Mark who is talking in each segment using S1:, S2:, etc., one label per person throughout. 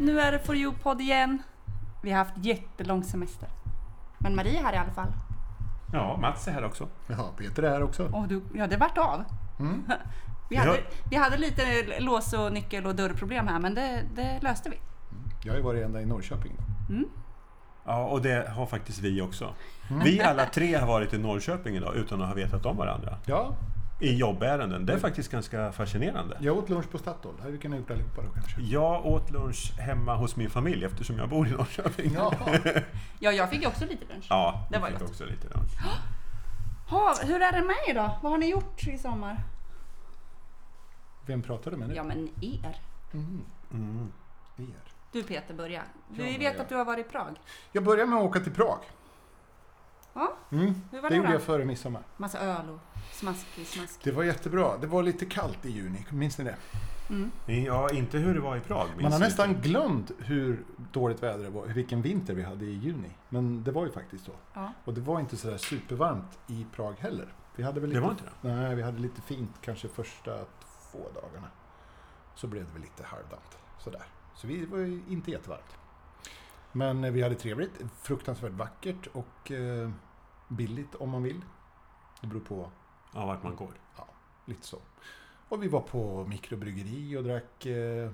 S1: Nu är det For You-podd igen. Vi har haft jättelång semester. Men Marie är här i alla fall.
S2: Ja, Mats är här också.
S3: Ja, Peter är här också.
S1: Och du, ja, det vart av.
S3: Mm.
S1: Vi,
S2: Ja.
S1: hade, vi hade lite lås och nyckel och dörrproblem här, men det, det löste vi.
S3: Jag har ju varit ända i Norrköping.
S2: Ja, och det har faktiskt vi också. Vi alla tre har varit i Norrköping idag utan att ha vetat om varandra.
S3: Ja,
S2: I jobbärenden. Det är faktiskt ganska fascinerande.
S3: jag åt lunch på Statoil. Det hade vi kunnat gjort allihopa då kanske.
S2: Jag åt lunch hemma hos min familj eftersom jag bor i Norrköping.
S3: Ja,
S1: Ja, jag fick ju också lite lunch.
S2: Ja,
S1: Det
S2: det
S1: var
S2: var
S1: gott.
S2: också lite lunch.
S1: Ha, hur är det med er då? Vad har ni gjort i sommar?
S3: vem pratar du med nu?
S1: Ja, men er.
S3: Mm.
S2: Mm.
S3: Er.
S1: Du Peter, börja.
S3: Ja,
S1: Vi vet
S3: börja.
S1: att du har varit i Prag.
S3: Jag börjar med att åka till Prag.
S1: Ja,
S3: Mm.
S1: hur var
S3: Det
S1: det,
S3: gjorde
S1: då?
S3: jag före midsommar.
S1: Massa öl och smask i smask.
S3: Det var jättebra. Det var lite kallt i juni, minns ni det?
S1: Mm.
S2: Ja, inte hur det var i Prag. minns
S3: Man har
S2: vi
S3: nästan
S2: inte.
S3: glömt hur dåligt väder det var, vilken vinter vi hade i juni. Men det var ju faktiskt så.
S1: Ja.
S3: Och det var inte sådär supervarmt i Prag heller. Vi hade väl lite
S2: Det var inte det?
S3: Nej, vi hade lite fint kanske första två dagarna. Så blev det väl lite halvdant sådär. Så vi var ju inte jättevarmt. Men eh, vi hade trevligt, fruktansvärt vackert och eh, billigt om man vill. Det beror på
S2: Ja, vart man går.
S3: lite så. Och vi var på mikrobryggeri och drack eh,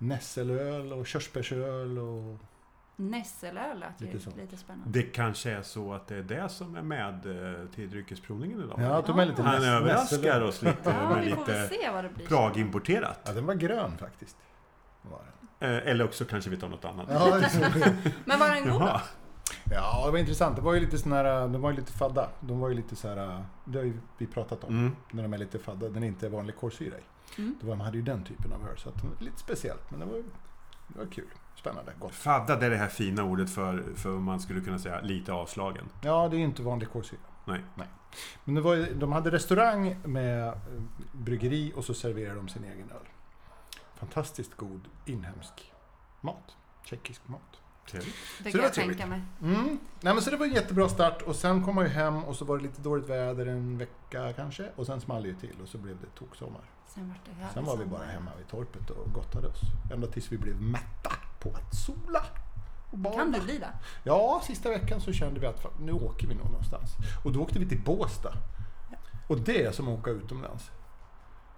S3: nässelöl och körsbärsöl och
S1: Nässelöl lät ju
S3: Lite så.
S1: lite, spännande.
S2: Det kanske är så att det är det som är med eh, till dryckesprovningen idag.
S3: Ja, tog med lite
S2: Han
S3: näs-
S2: överraskar
S3: nässelöl.
S2: oss lite
S1: Ja,
S2: med
S1: vi får väl
S2: lite
S1: se vad det blir.
S2: Prag-importerat.
S3: Ja, den var grön faktiskt. Var den.
S2: Eh, Eller också kanske vi tar något annat.
S3: Ja, det är så.
S1: Men var den god då?
S2: Jaha.
S3: ja, det var intressant. Det var ju lite sån här, de var ju lite fadda. De var ju lite så här, det har ju vi pratat om.
S2: Mm.
S3: När de är lite fadda, när det inte är vanlig kolsyra i.
S1: Mm.
S3: Då var- de hade ju den typen av öl, så att, det var lite speciellt. Men det var, det var kul. Spännande. Gott.
S2: Fadda, det är det här fina ordet för, för man skulle kunna säga lite avslagen.
S3: Ja, det är ju inte vanlig kolsyra.
S2: Nej.
S3: Men det var, ju- de hade restaurang med eh, bryggeri och så serverade de sin egen öl. Fantastiskt god inhemsk mat. Tjeckisk mat.
S2: Trevligt.
S1: Det
S3: Så
S1: kan
S3: det var
S1: jag
S3: trevligt.
S1: tänka mig.
S3: Mm. Nej, men så det var en jättebra start och sen kom man ju hem och så var det lite dåligt väder en vecka kanske och sen small det ju till och så blev det toksommar.
S1: Sen var det här
S3: Sen var vi bara hemma vid torpet och gottade oss. Ända tills vi blev mätta på att sola. Och bada.
S1: Kan du bli det?
S3: Ja, sista veckan så kände vi att fan, nu åker vi nog någonstans. Och då åkte vi till Båstad. Och det är som att åka utomlands.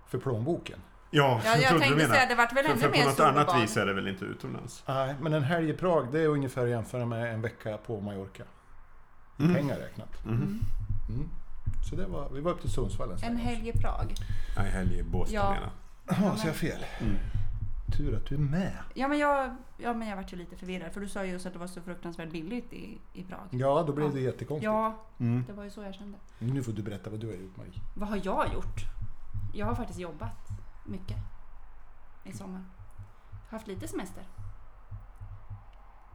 S3: För plånboken.
S2: Ja,
S1: Ja, jag
S2: trodde du
S1: tänkte
S2: menade.
S1: säga det vart väl
S2: För,
S1: ännu
S2: för
S1: mer
S2: på något
S1: sol och
S2: annat
S1: bad.
S2: vis är det väl inte utomlands?
S3: Nej, men en helg i Prag det är ungefär att jämföra med en vecka på Mallorca.
S2: Mm.
S3: Pengar räknat.
S2: Mm-hmm.
S1: Mm.
S3: Mm. Så det var, vi var upp till Sundsvall en
S1: En
S3: sväng.
S1: helg i Prag.
S2: Nej, helg i Båstad
S1: Ja.
S2: menar
S3: Ja, så jag fel? Tur att du är med.
S1: Ja men jag, ja, men jag vart ju lite förvirrad för du sa ju just att det var så fruktansvärt billigt i, i Prag.
S3: Ja, då blev
S1: Ja.
S3: det jättekonstigt.
S1: Ja,
S2: Mm.
S1: det var ju så jag kände.
S3: Nu får du berätta vad du har gjort Marie.
S1: Vad har jag gjort? Jag har faktiskt jobbat mycket i sommar. Haft lite semester.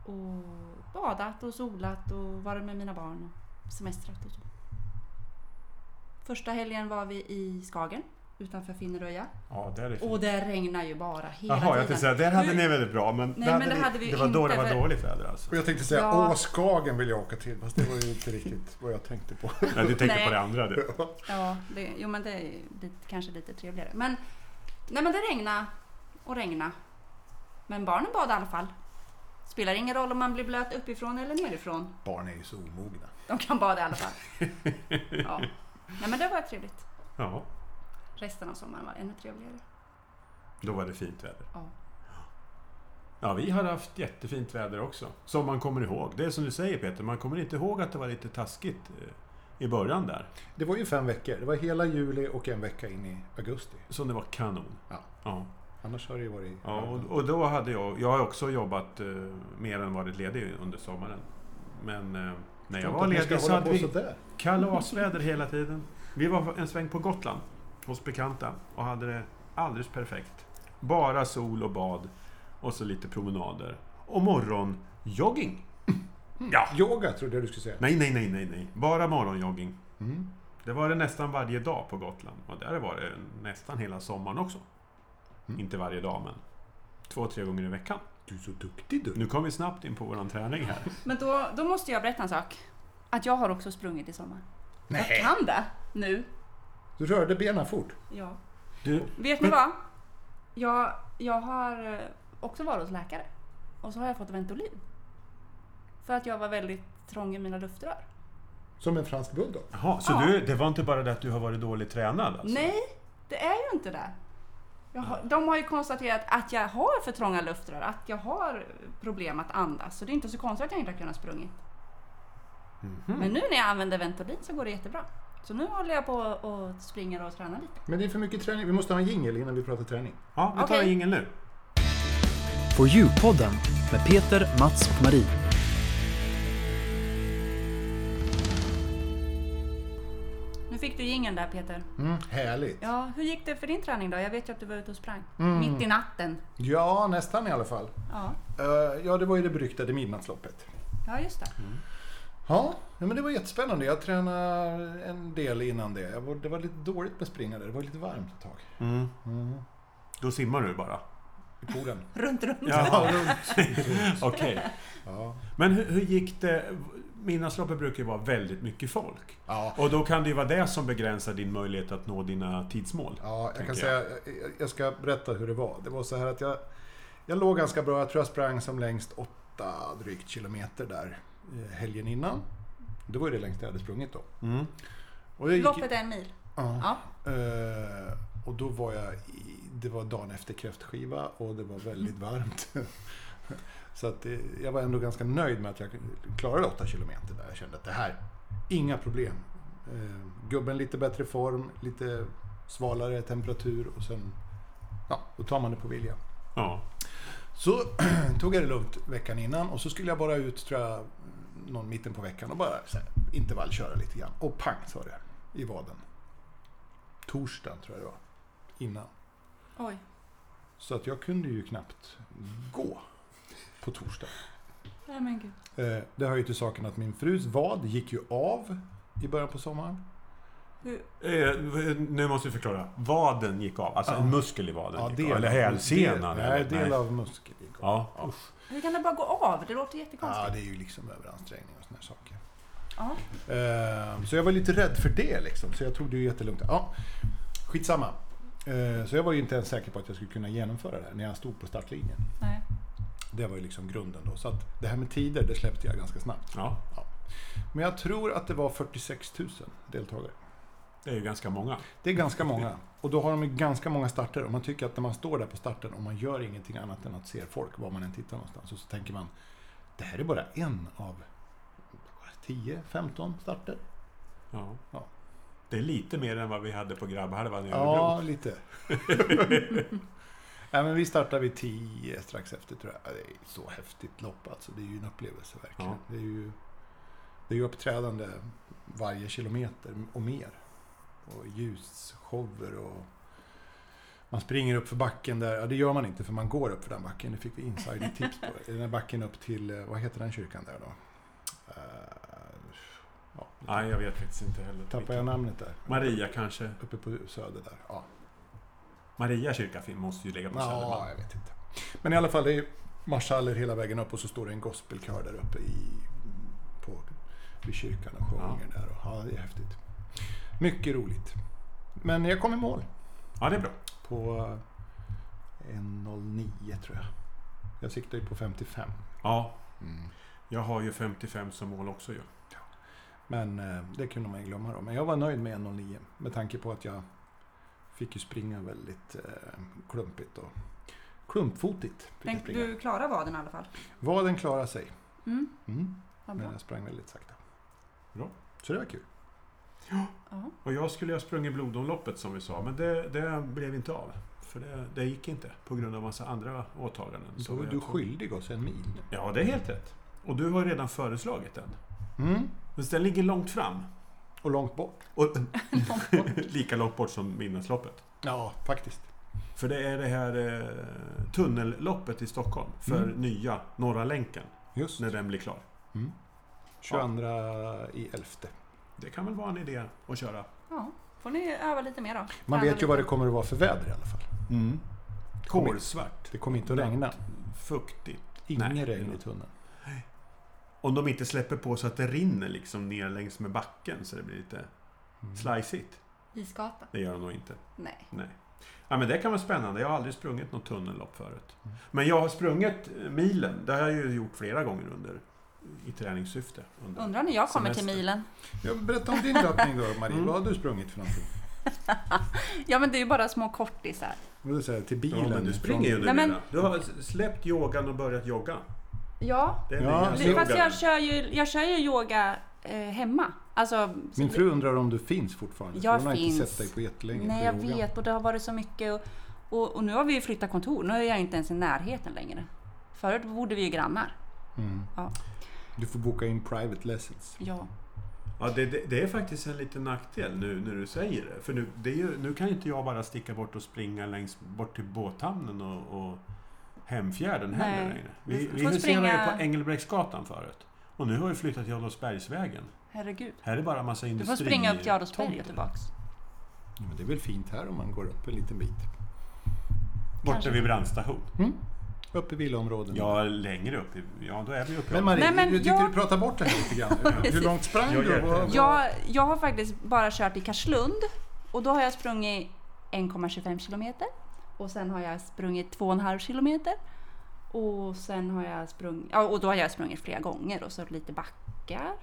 S1: Och badat och solat och varit med mina barn och semestrat och så. Första helgen var vi i Skagen utanför Finneröja.
S2: Ja, där är det fint.
S1: Och det regnar ju bara hela
S2: Jaha, jag
S1: tiden.
S2: tänkte säga, där hade
S1: Nu-
S2: ni väldigt bra, men,
S1: men
S2: där
S1: det
S2: ni-
S1: hade vi
S2: det var då
S1: inte,
S2: det var
S1: för-
S2: dåligt väder alltså.
S3: Och jag tänkte säga,
S1: Ja.
S3: åh Skagen vill jag åka till. Fast det var ju inte riktigt vad jag tänkte på.
S2: Nej, du tänkte
S1: Nej.
S2: på det andra du.
S1: Ja, det, jo men det är ju lite, kanske lite trevligare. Men, nej, men det regna och regna. Men barnen bad i alla fall. Spelar ingen roll om man blir blöt uppifrån eller nerifrån.
S3: Barn är ju så omogna.
S1: De kan bada i alla fall. Ja. Nej men det var trevligt.
S2: Ja,
S1: Resten av sommaren var ännu trevligare.
S2: då var det fint väder.
S1: Ja.
S2: Ja, vi har haft jättefint väder också. Som man kommer ihåg. Det är som du säger Peter, man kommer inte ihåg att det var lite taskigt eh, i början där.
S3: Det var ju fem veckor. Det var hela juli och en vecka in i augusti.
S2: Som det var kanon.
S3: Ja.
S2: Ja.
S3: Annars har det ju varit...
S2: Ja, och, och då hade jag... Jag har också jobbat eh, mer än varit ledig under sommaren. Men eh, när jag var ledig så hade vi
S3: Sådär.
S2: kalasväder hela tiden. Vi var en sväng på Gotland hos bekanta och hade det alldeles perfekt. Bara sol och bad och så lite promenader. Och morgonjogging.
S3: Mm.
S2: Ja.
S3: Yoga trodde jag du skulle säga.
S2: Nej, nej, nej, nej, nej. Bara morgonjogging.
S3: Mm.
S2: Det var det nästan varje dag på Gotland. Och där var det nästan hela sommaren också.
S3: Mm.
S2: Inte varje dag, men två, tre gånger i veckan.
S3: Du är så duktig du.
S2: Nu kom vi snabbt in på vår träning här.
S1: Men då, då måste jag berätta en sak. Att jag har också sprungit i sommar. Jag
S3: Nej.
S1: kan det nu.
S3: Du rörde benen fort.
S1: Ja.
S2: Du,
S1: Vet ni vad? Jag, jag har eh, också varit hos läkare. Och så har jag fått Ventolin. För att jag var väldigt trång i mina luftrör.
S3: Som en fransk bulldog.
S2: Jaha, så
S1: Ja.
S2: du, det var inte bara det att du har varit dåligt tränad? Alltså.
S1: Nej, det är ju inte det. Jag har, de har ju konstaterat att jag har för trånga luftrör, att jag har problem att andas. Så det är inte så konstigt att jag inte har kunnat sprungit. Men nu när jag använder Ventolin så går det jättebra. Så nu håller jag på och springer och tränar lite.
S3: Men det är för mycket träning. Vi måste ha en jingle innan vi pratar träning.
S2: Ja, vi tar
S1: Okej.
S2: ingen nu.
S4: For You-podden med Peter, Mats och Marie.
S1: Nu fick du ingen där Peter.
S3: Mm, härligt. Ja.
S1: Ja, hur gick det för din träning då? Jag vet ju att du var ute och sprang. Mitt i natten.
S3: nästan i alla fall.
S1: Ja,
S3: Eh, ja, det var ju det beryktade midnattsloppet.
S1: ja just det.
S3: Ja, nej, men det var jättespännande. Jag tränade en del innan det. Jag var, det var lite dåligt med springare. Det var lite varmt ett tag
S2: Då simmar du bara.
S3: i poolen.
S1: Runt, runt.
S2: Ja, Okej.
S3: Ja.
S2: Men hur, hur gick det? Midnattsloppet brukar ju vara väldigt mycket folk.
S3: Ja.
S2: Och då kan det ju vara det som begränsar din möjlighet att nå dina tidsmål.
S3: Ja, jag
S2: tänker
S3: kan säga, jag, jag ska berätta hur det var. Det var så här att jag, jag låg ganska bra. Jag tror jag sprang som längst åtta drygt kilometer där eh, helgen innan. Det var ju det längsta jag hade sprungit då.
S2: Mm.
S3: Och jag gick,
S1: Loppet är en mil.
S3: Ja.
S1: Ja.
S3: Eh, och då var jag i, det var dagen efter kräftskiva och det var väldigt varmt. så att det, jag var ändå ganska nöjd med att jag klarade åtta kilometer där. Jag kände att det här, inga problem. Eh, gubben lite bättre form, lite svalare temperatur och sen, ja, då tar man det på vilja.
S2: Ja.
S3: Så tog jag det lugnt veckan innan och så skulle jag bara ut, tror jag, någon mitten på veckan och bara så här, intervallköra lite grann. Och pang sa det i vaden. Torsdagen tror jag det var. Innan.
S1: Oj.
S3: Så att jag kunde ju knappt gå på torsdag.
S1: Nej men gud.
S3: Eh, Det hör ju till saken att min frus vad gick ju av i början på sommaren.
S1: Hur,
S2: Eh, nu måste vi förklara. Vaden gick av. Alltså
S3: Ja.
S2: en muskel i vaden gick av. Eller
S3: del-
S2: hälsenan.
S3: Nej,
S2: eller-
S3: del av muskeln gick av.
S2: Ja.
S1: hur kan det bara gå av? Det låter
S3: Ja,
S1: jättekonstigt.
S3: det är ju liksom överansträngning och såna här saker.
S1: Ja.
S3: Eh, Så jag var lite rädd för det liksom, så jag tog det ju jättelugnt. Ja, skitsamma. Eh, Så jag var ju inte ens säker på att jag skulle kunna genomföra det här när jag stod på startlinjen.
S1: Nej.
S3: Det var ju liksom grunden då. Så att det här med tider, det släppte jag ganska snabbt.
S2: ja.
S3: Men jag tror att det var 46 000 deltagare.
S2: Det är ju ganska många.
S3: Det är ganska många. Och då har de ju ganska många starter. Och man tycker att när man står där på starten och man gör ingenting annat än att se folk var man än tittar någonstans. Och så tänker man, det här är bara en av 10-15 starter.
S2: Ja.
S3: Ja.
S2: Det är lite mer än vad vi hade på grabbhalvan i
S3: Ja,
S2: Örebro.
S3: lite. Nej, men vi startar vid 10 strax efter tror jag. Det är så häftigt lopp alltså. Det är ju en upplevelse verkligen.
S2: Ja.
S3: Det, är ju, det är ju uppträdande varje kilometer och mer. Och ljusshower och... Man springer upp för backen där. Ja, det gör man inte för man går upp för den backen. Det fick vi insidertips på. Den här backen upp till, eh, vad heter den kyrkan där då? Eh,
S2: Nej, jag vet faktiskt inte heller.
S3: Tappar jag namnet där?
S2: Maria kanske.
S3: Uppe på söder där. Ja.
S2: Maria kyrka fin- måste ju ligga på
S3: Ja,
S2: Södermalm.
S3: jag vet inte. Men i alla fall, det är marschaller hela vägen upp och så står det en gospelkör där uppe i, på, vid kyrkan och sjunger där. Och, ja, det är häftigt. Mycket roligt. Men jag kom i mål
S2: Ja, det är bra.
S3: på eh, 1.09 tror jag. Jag siktar ju på 55.
S2: Ja.
S3: Mm.
S2: Jag har ju 55 som mål också ju.
S3: Men eh, det kunde man ju glömma då. Men jag var nöjd med 1.09 med tanke på att jag fick ju springa väldigt eh, klumpigt och klumpfotigt. Fick jag
S1: Tänk,
S3: springa.
S1: du klarar vaden i alla fall.
S3: Vaden klarar sig.
S1: Mm,
S3: Mm.
S1: vad
S3: Men
S1: bra.
S3: jag sprang väldigt sakta.
S2: Bra.
S3: Så det var kul.
S1: Ja.
S2: Och jag skulle ju ha sprungit blodomloppet som vi sa, men det, det blev inte av. För det, det gick inte på grund av massa andra åtaganden.
S3: Så var
S2: jag
S3: du
S2: tog-
S3: skyldig oss en mil.
S2: Ja, det är helt rätt. Och du har ju redan föreslagit den.
S3: Mm.
S2: Men den ligger långt fram.
S3: Och långt bort.
S2: Och lika långt bort som Midnattsloppet.
S3: Ja, faktiskt.
S2: För det är det här eh, tunnelloppet i Stockholm för
S3: Mm.
S2: nya Norra länken,
S3: Just.
S2: när den blir klar.
S3: Mm. 22 i elfte.
S2: Det kan väl vara en idé att köra.
S1: ja, får ni öva lite mer då.
S3: Man
S1: Träna
S3: vet ju vad det
S1: lite.
S3: kommer att vara för väder i alla fall.
S2: Mm.
S3: Kom in.
S2: Kolsvart,
S3: Det kommer inte att regna.
S2: fuktigt. Nej.
S3: Inget regn i tunneln.
S2: Om de inte släpper på så att det rinner liksom ner längs
S3: Mm.
S2: med backen så det blir lite slicigt.
S1: Isgata.
S2: Det gör de nog inte.
S1: Nej.
S2: Nej. Ja, men det kan vara spännande. Jag har aldrig sprungit något tunnellopp förut. Men jag har sprungit eh, milen. Det har jag ju gjort flera gånger under i träningssyfte. Under.
S1: Undrar när jag kommer till
S2: Semester.
S1: milen.
S3: Ja, berätta om din löpning då, Marie.
S2: Mm.
S3: Vad har du sprungit för någonting?
S1: Ja men det är ju bara små kortisar.
S3: Vad du säger, till bilen?
S2: Ja, men du springer ju
S1: Nej,
S2: nu.
S1: men-
S2: Mira. Du har s- släppt yogan och börjat jogga.
S1: Ja.
S2: Det är
S3: Ja,
S2: nya
S3: det-
S2: slogan.
S1: Fast jag kör ju, jag kör ju yoga eh, hemma. Alltså,
S3: Min fru undrar om du finns fortfarande. för
S1: Jag
S3: Hon har inte
S1: finns.
S3: sett dig på jättelänge.
S1: Nej,
S3: på
S1: jag
S3: yogan.
S1: vet och det har varit så mycket. Och, och, och nu har vi ju flyttat kontor. Nu är jag inte ens i närheten längre. Förut bodde vi ju grannar.
S3: Mm.
S1: Ja.
S3: Du får boka in private lessons.
S1: Ja.
S2: Ja, det, det, det är faktiskt en liten nackdel nu när du säger det. För nu, det är ju, nu kan ju inte jag bara sticka bort och springa längs bort till båthamnen och, och Hemfjärden heller
S1: Nej.
S2: längre.
S1: Du
S2: Vi,
S1: får
S2: vi huserade
S1: springa-
S2: ju på Engelbrektsgatan förut. Och nu har vi flyttat till Adolfsbergsvägen.
S1: Herregud.
S2: Här är bara en massa
S1: Du
S2: industri.
S1: får springa upp till Adolfsberg och
S2: tomter.
S1: tillbaks.
S3: Ja, men det är väl fint här om man går upp en liten bit.
S2: Borta
S1: Kanske.
S2: vid brandstation.
S3: Upp i villaområden.
S2: Ja, längre upp. i- Ja, då är vi uppe.
S3: Men Marie,
S1: Nej, men
S3: du tyckte
S1: jag-
S3: du pratade bort det här lite grann. Hur långt sprang
S2: Jag
S3: du?
S2: hjälper
S3: Vad-
S2: dig.
S1: Jag, jag har faktiskt bara kört i Karslund och då har jag sprungit 1,25 kilometer och sen har jag sprungit 2,5 kilometer och sen har jag sprungit, ja, och då har jag sprungit flera gånger och så lite backar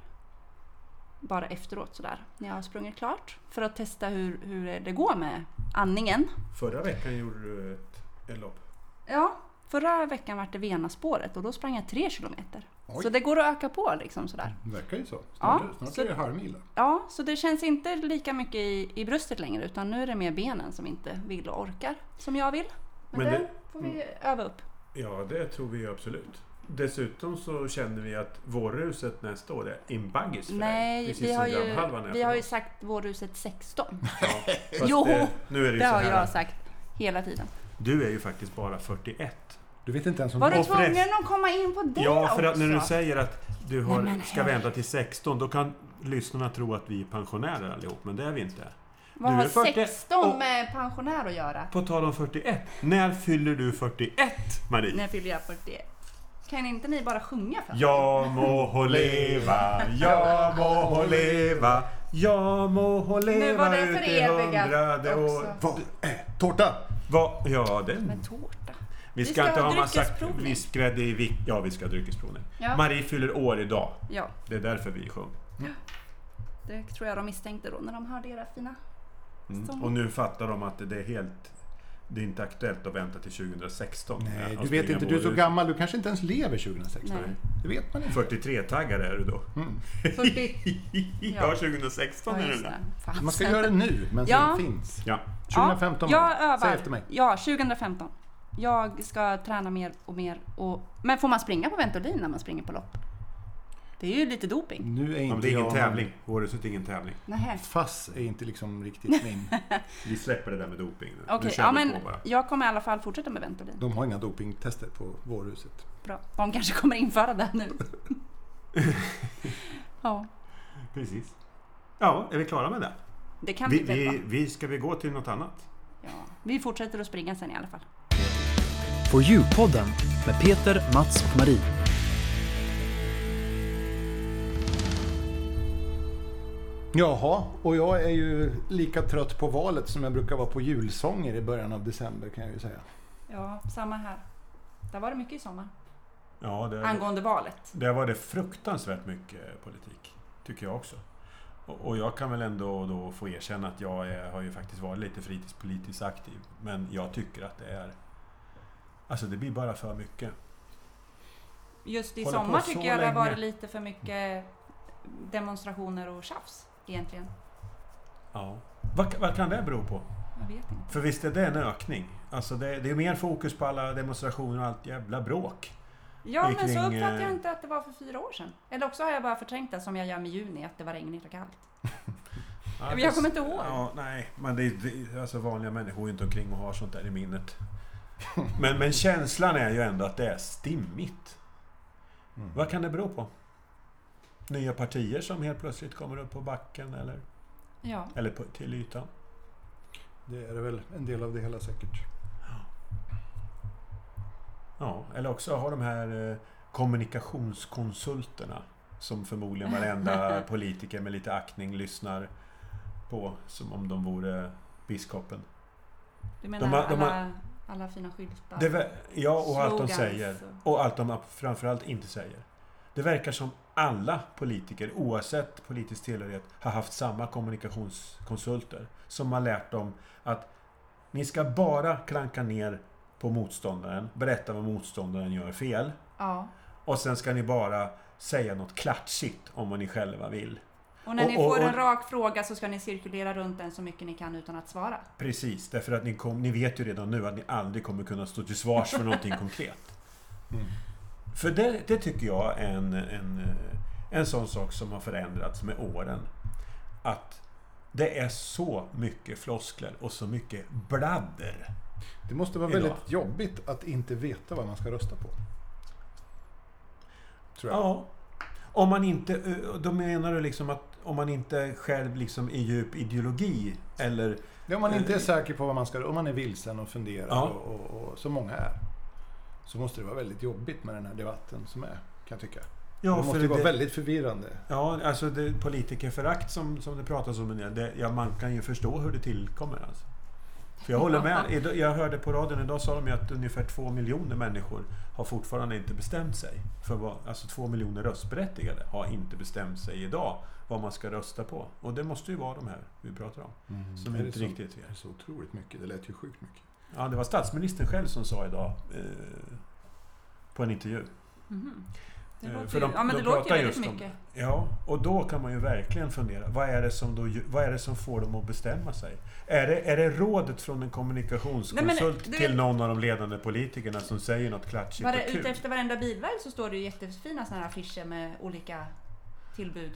S1: bara efteråt sådär när jag har sprungit klart för att testa hur, hur det går med andningen.
S2: Förra veckan gjorde du ett, ett lopp.
S1: Ja, förra veckan var det Venaspåret och då sprang jag 3 kilometer.
S3: Oj.
S1: Så det går att öka på liksom sådär.
S3: Det verkar ju så. Snart,
S1: Ja,
S3: snart
S1: så-
S3: är det halvmil. då.
S1: Ja, så det känns inte lika mycket i, i bröstet längre utan nu är det mer benen som inte vill och orkar som jag vill. Men,
S2: Men
S1: det,
S2: det- Mm.
S1: får vi öva upp.
S2: Ja, det tror vi absolut. Dessutom så känner vi att vårruset nästa år är in buggies för dig.
S1: Nej,
S2: Precis
S1: vi
S2: som
S1: har, ju,
S2: grannhalvan är
S1: vi
S2: för
S1: har ju
S2: oss.
S1: sagt vårhuset 16.
S2: Ja, fast
S1: Jo,
S2: det, nu är det, ju
S1: Det
S2: så
S1: har
S2: här. Mm.
S1: jag sagt hela tiden.
S2: Du är ju faktiskt bara 41.
S3: Du vet inte ens om
S1: Var du
S2: Och
S1: tvungen
S2: förresten-
S1: att komma in på det
S2: ja, för att när du
S1: också?
S2: säger att du har,
S1: Nej, men
S2: ska
S1: hej.
S2: vänta till 16, då kan lyssnarna tro att vi är pensionärer allihop, men det är vi inte.
S1: Vad
S2: du
S1: har
S2: är 40
S1: 16
S2: och-
S1: med pensionär att göra?
S2: På tal om 41, när fyller du 41, Marie?
S1: När fyller jag 41? Kan inte ni bara sjunga för mig?
S2: Jag må ho leva, jag må ho leva, jag må ho leva
S1: Nu var det
S2: ut i
S1: förevigat
S2: hundrade år.
S1: också.
S3: Vad är äh, tårta?
S2: Va? Ja, den.
S1: Med tårta.
S2: Vi ska,
S1: ska
S2: inte
S1: ha
S2: ha massa
S1: dryckesprovning.
S2: viskgrädde i vik... Ja, vi ska ha dryckesprovning.
S1: Ja.
S2: Marie fyller år idag.
S1: Ja,
S2: Det är därför vi sjöng.
S1: det tror jag de misstänkte då när de hörde era fina
S2: Mm.
S1: Som-
S2: Och nu fattar de att det är helt... Det är inte aktuellt att vänta till 2016.
S3: Nej,
S2: Att
S3: du vet
S2: springa
S3: inte. Du är så
S2: vårhus.
S3: gammal. Du kanske inte ens lever 2016.
S1: Nej.
S3: Det vet man inte.
S2: 43-taggare är du då.
S1: 40...
S2: Ja, 2016
S1: Ja,
S2: är
S1: just
S2: du där.
S1: det. Fan.
S3: Man ska göra det nu, men
S1: Ja.
S3: sen finns.
S2: Ja.
S3: 2015
S1: ja,
S3: var
S1: jag
S3: det.
S1: övar.
S3: Säg efter mig.
S1: Ja, 2015. Jag ska träna mer och mer. Och... Men får man springa på Ventolin när man springer på lopp? Det är ju lite doping.
S3: Nu är
S2: Ja, men
S3: inte
S2: det är ingen
S3: jag-
S2: tävling. Vårhuset är ingen tävling.
S1: Nähä.
S3: Fass är inte liksom riktigt min.
S2: Vi släpper det där med doping nu.
S1: Okej,
S2: nu kör
S1: ja,
S2: vi
S1: men
S2: på bara.
S1: jag kommer i alla fall fortsätta med Ventolin.
S3: De har inga dopingtester på vårhuset.
S1: Bra. De kanske kommer införa det nu. ja,
S2: Precis. Ja, är vi klara med det?
S1: det kan
S2: Vi,
S1: vi, väl
S2: vi,
S1: vara.
S2: vi, ska vi gå till något annat?
S1: Ja. Vi fortsätter att springa sen i alla fall.
S4: For You-podden med Peter, Mats och Marie.
S3: Jaha, och jag är ju lika trött på valet som jag brukar vara på julsånger i början av december kan jag ju säga.
S1: Ja, samma här. Där var det mycket i sommar.
S2: Ja, det,
S1: Angående valet.
S2: Där var det fruktansvärt mycket politik, tycker jag också. Och och jag kan väl ändå då få erkänna att jag är, har ju faktiskt varit lite fritidspolitiskt aktiv. Men jag tycker att det är... Alltså det blir bara för mycket.
S1: Just i
S2: Håller på
S1: sommar
S2: så
S1: tycker jag det
S2: länge.
S1: har varit lite för mycket demonstrationer och tjafs egentligen.
S2: Ja. Vad, vad kan det bero på?
S1: Jag vet inte.
S2: För visst är det en ökning? Alltså det, det är mer fokus på alla demonstrationer och allt jävla bråk.
S1: Ja,
S2: Det är
S1: men så
S2: kring,
S1: uppfattade jag
S2: eh,
S1: inte att det var för fyra år sedan. Eller också har jag bara förträngt det som jag gör med juni, att det var regnigt och kallt.
S2: Ja,
S1: Men jag kommer
S2: fast-
S1: inte ihåg.
S2: Ja, nej, men det, är- det, alltså vanliga människor är ju inte omkring och har sånt där i minnet. Men, men känslan är ju ändå att det är stimmigt.
S3: Mm.
S2: Vad kan det bero på? Nya partier som helt plötsligt kommer upp på backen eller,
S1: Ja.
S2: eller på, till ytan?
S3: Det är väl en del av det hela säkert.
S2: Ja, eller också har de här eh, kommunikationskonsulterna som förmodligen varenda politiker med lite aktning lyssnar på som om de vore biskopen.
S1: Du menar
S2: De har- de har-
S1: alla, alla fina skyltar?
S2: Det, ver- ja, och allt de
S1: Slogans
S2: säger. Och allt de framförallt inte säger. Det verkar som alla politiker, oavsett politisk tillhörighet, har haft samma kommunikationskonsulter som har lärt dem att ni ska bara klanka ner på motståndaren, berätta vad motståndaren gör fel
S1: Ja.
S2: och sen ska ni bara säga något klatschigt om vad ni själva vill.
S1: Och när
S2: Och-
S1: ni
S2: och-
S1: får en
S2: och-
S1: rak fråga så ska ni cirkulera runt den så mycket ni kan utan att svara.
S2: Precis, därför att ni, kom, ni vet ju redan nu att ni aldrig kommer kunna stå till svars för någonting konkret.
S3: Mm.
S2: För det, det tycker jag är en, en, eh, en sån sak som har förändrats med åren. Att det är så mycket floskler och så mycket bladder.
S3: Det måste vara
S2: Idag.
S3: väldigt jobbigt att inte veta vad man ska rösta på. Tror jag.
S2: Ja. Om man inte, eh, då menar du liksom att om man inte själv liksom är djup ideologi eller...
S3: Ja. Om man inte är säker på vad man ska... Om man är vilsen och funderar,
S2: Ja.
S3: och, och, och, som många är, så måste det vara väldigt jobbigt med den här debatten som är, kan jag tycka.
S2: Ja,
S3: det måste
S2: för
S3: ju vara
S2: det-
S3: väldigt förvirrande.
S2: Ja, alltså det politikerförakt som, som det pratas om en del, det, ja, man kan ju förstå hur det tillkommer. Alltså. För jag håller med. Idag- Jag hörde på radion idag sa de ju att ungefär två miljoner människor har fortfarande inte bestämt sig. För vad, alltså två miljoner röstberättigade har inte bestämt sig idag vad man ska rösta på. Och det måste ju vara de här vi pratar om. Som
S3: Är Mm, det
S2: inte
S3: så-
S2: riktigt
S3: Det är
S2: vet.
S3: så otroligt mycket. Det lät ju sjukt mycket.
S2: Ja, det var statsministern själv som sa idag eh, på en intervju.
S1: Mhm. Det
S2: Eh,
S1: låter
S2: för
S1: ju,
S2: de-
S1: ja, men
S2: de
S1: det låter ju
S2: pratar
S1: väldigt
S2: just om
S1: mycket.
S2: Ja, och då kan man ju verkligen fundera. Vad är det som, då, vad är det som får dem att bestämma sig? Är det, är det rådet från en
S1: Nej, men
S2: kommunikationskonsult
S1: du vet-
S2: till någon av de ledande politikerna som säger något klatschigt
S1: Vare,
S2: och
S1: ute
S2: kul?
S1: efter varenda bilväg så står det ju jättefina såna här affischer med olika tillbud.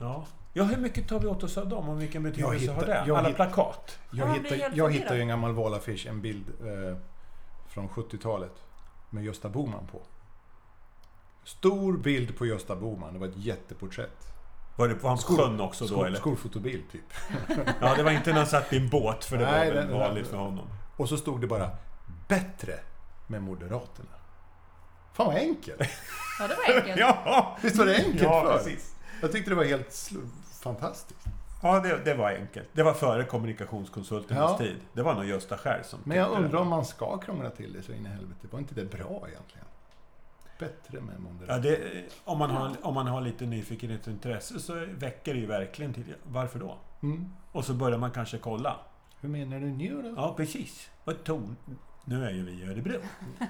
S2: Ja. ja, hur mycket tar vi åt oss av dem och vilken betydelse
S3: hittar-
S2: har det?
S3: jag
S2: Alla
S3: hittar-
S2: plakat?
S3: Jag,
S1: Ja, man blir
S3: hittar,
S1: helt
S3: jag
S1: förvirrad.
S3: hittar ju en gammal valaffisch, en bild eh, från 70-talet med Gösta Bohman på. Stor bild på Gösta Bohman, det var ett jätteporträtt.
S2: Var det på hans
S3: Skol-
S2: sjön också då
S3: Skol,
S2: eller?
S3: skolfotobild typ.
S2: Ja, det var inte när han satt i en båt för det
S3: Nej,
S2: var
S3: den-
S2: väl
S3: den-
S2: vanligt för honom.
S3: Och så stod det bara “Bättre med Moderaterna”. Fan vad enkelt!
S1: Ja, det var enkelt.
S2: Ja,
S3: Visst var det enkelt
S2: ja
S3: för?
S2: precis.
S3: Jag tyckte det var helt sl- fantastiskt.
S2: Ja, det, det var enkelt. Det var före kommunikationskonsulternas
S3: Ja.
S2: tid. Det var nog Gösta själv som
S3: Men jag
S2: tyckte det.
S3: undrar om man ska krångla till det så in i helvete. Var inte det bra egentligen? Bättre med
S2: Ja,
S3: Moderaterna.
S2: det, om, man har, om man har lite nyfikenhet och intresse så väcker det ju verkligen till Varför då?
S3: Mm.
S2: Och så börjar man kanske kolla.
S3: Hur menar du nu då?
S2: Ja, precis. Vad ton... Nu är ju vi i Örebro.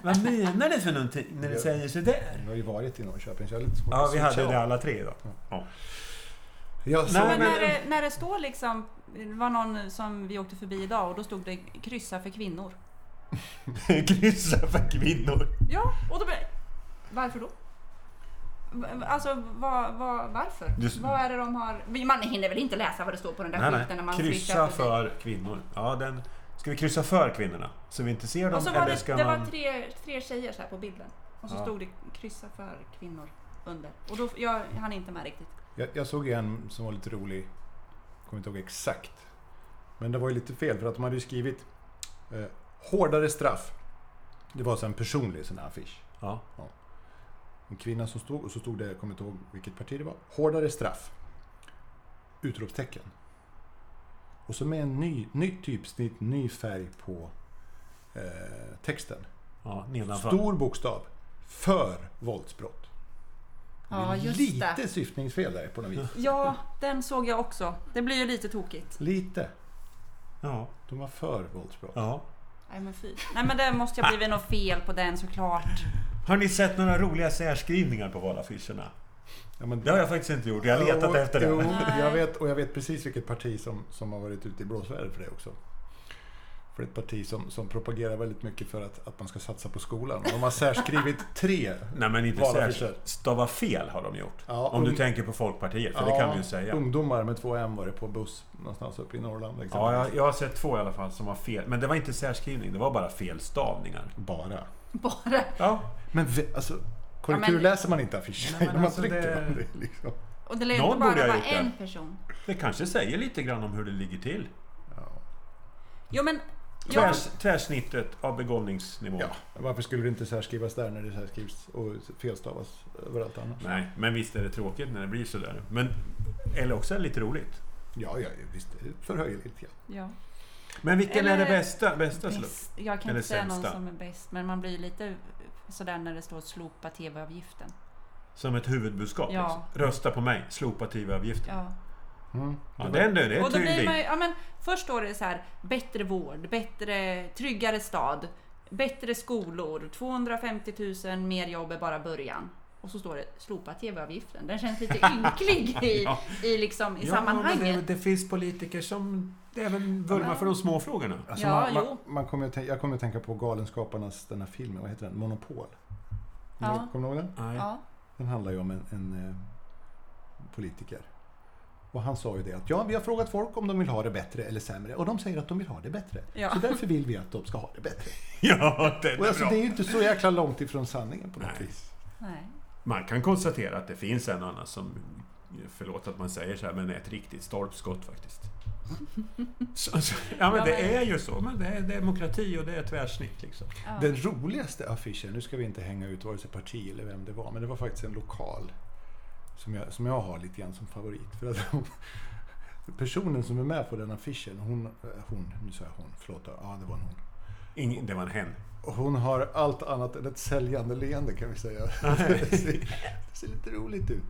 S2: Vad menar du för någonting när du säger sådär?
S3: Jag har ju varit i Norrköping så jag har lite svårt
S2: Ja,
S3: att
S2: vi
S3: switcha
S2: hade
S3: av.
S2: det alla tre idag. Ja.
S3: Jag
S2: Nej,
S3: såg
S1: men
S2: men-
S1: när, det, när det står liksom, det var någon som vi åkte förbi idag och då stod det kryssa för kvinnor.
S2: Kryssa för kvinnor.
S1: Ja, och då blev Varför då? V- Alltså vad, vad, varför?
S2: Du-
S1: Vad är det de har? Man hinner väl inte läsa vad det står på den där
S2: Nej,
S1: skylten när man
S2: nej.
S1: swishar
S2: Kryssa
S1: förbi.
S2: för kvinnor. Ja, den... Ska vi kryssa för kvinnorna? Så vi inte ser dem?
S1: Och så var
S2: eller
S1: det,
S2: ska
S1: det
S2: man...
S1: var tre, tre tjejer så här på bilden. Och så
S2: Ja.
S1: stod det kryssa för kvinnor under. Och då, jag hann inte med riktigt.
S3: Jag, jag såg en som var lite rolig. Kommer inte ihåg exakt. Men det var ju lite fel för att de hade ju skrivit eh, hårdare straff. Det var så en personlig sån här affisch.
S2: Ja.
S3: En kvinna som stod och så stod det, jag kommer inte ihåg vilket parti det var. Hårdare straff. Utropstecken. Och så med en ny, nytt typsnitt, ny färg på eh, texten.
S2: Ja, nedanför.
S3: Stor bokstav. För våldsbrott.
S1: Ja, just
S3: lite
S1: det.
S3: syftningsfel där på något vis.
S1: Ja, den såg jag också. Det blir ju lite tokigt.
S3: Lite.
S2: Ja.
S3: De var för våldsbrott.
S2: ja.
S1: Nej men fy. Nej men det måste jag blivit något fel på den såklart.
S2: Har ni sett några roliga särskrivningar på valaffischerna?
S3: Ja, men
S2: Det har jag faktiskt inte gjort. Jag har letat
S3: Jo,
S2: efter
S3: Jo,
S2: det.
S1: Nej.
S3: jag vet, och jag vet precis vilket parti som, som har varit ute i blåsväder för det också. För ett parti som, som propagerar väldigt mycket för att, att man ska satsa på skolan. Och De har särskrivit tre.
S2: Nej men inte
S3: Valaffischer.
S2: särskilt. Stava fel har de gjort.
S3: Ja,
S2: Om
S3: ung-
S2: du tänker på Folkpartiet, för det kan vi ju säga.
S3: Ungdomar med två M var det på buss någonstans uppe i Norrland. liksom.
S2: Ja,
S3: exempelvis.
S2: jag, jag har sett två i alla fall som var fel. Men det var inte särskrivning, det var bara felstavningar.
S3: Bara.
S1: Bara.
S2: Ja,
S3: Men vi- alltså, korrekturläser man inte affischer?
S2: Nej, men
S3: man
S2: alltså
S3: trycker
S2: det-
S3: på det liksom.
S1: Och det lär ju
S2: Någon
S1: inte bara
S2: borde ha
S1: vara
S2: gjort det.
S1: en person.
S2: det kanske säger lite grann om hur det ligger till.
S1: Jo men... Ja,
S2: Tvärs, tvärsnittet av begåvningsnivå.
S3: Ja, varför skulle det inte särskrivas där när det särskrivs och felstavas överallt annars?
S2: Nej, men visst är det tråkigt när det blir sådär. Men, eller också är det lite roligt.
S3: Ja, ja visst. det Förhöjer lite grann.
S1: ja.
S2: Men vilken är det
S1: Eller-
S2: bästa, bästa slump?
S1: Bäst- Jag kan
S2: Eller
S1: inte säga någon
S2: sämsta.
S1: som är bäst, men man blir lite sådär när det står slopa TV-avgiften.
S2: Som ett huvudbudskap?
S1: Ja.
S2: Liksom. Rösta på mig, slopa TV-avgiften.
S1: Ja.
S3: Mm.
S2: Ja, det är ändå det är
S1: Och då blir
S2: tydligt.
S1: man ju, ja, men först står det så här, bättre vård, bättre, tryggare stad, bättre skolor, 250 000 mer jobb är bara början. Och så står det slopa TV-avgiften. Den känns lite ynklig i,
S2: Ja.
S1: i, liksom, i
S2: Ja, men
S1: sammanhanget.
S2: det, det finns politiker som även vurmar
S1: Ja.
S2: för de små frågorna.
S3: Alltså
S1: Ja,
S3: man, man,
S1: jo.
S3: man kommer att tänka, jag kommer att tänka på Galenskaparnas, den här filmen, vad heter den? Monopol. Mm,
S1: Ja.
S3: Kommer du ihåg den?
S2: Nej.
S1: Ja.
S3: Den handlar ju om en, en eh, politiker. Och han sa ju det att ja, vi har frågat folk om de vill ha det bättre eller sämre och de säger att de vill ha det bättre.
S1: Ja.
S3: Så därför vill vi att de ska ha det bättre.
S2: Ja, det är
S3: Och alltså,
S2: bra.
S3: det är ju inte så jäkla långt ifrån sanningen på något
S2: Nej.
S3: vis.
S1: Nej.
S2: Man kan konstatera att det finns en annan som, förlåt att man säger så här, men är ett riktigt stolpskott faktiskt. Så, så, ja, men
S1: Ja, men-
S2: det är ju så. Men det är demokrati och det är tvärsnitt liksom.
S1: Ja.
S3: Den roligaste affischen, nu ska vi inte hänga ut vare sig parti eller vem det var, men det var faktiskt en lokal som jag, som jag har lite grann som favorit. För att hon, personen som är med på den affischen, hon, eh, hon nu sa jag hon, förlåt, ja det var en hon.
S2: Ingen, det var en hen.
S3: Hon har allt annat än ett säljande leende kan vi säga. Det ser, det ser lite roligt ut.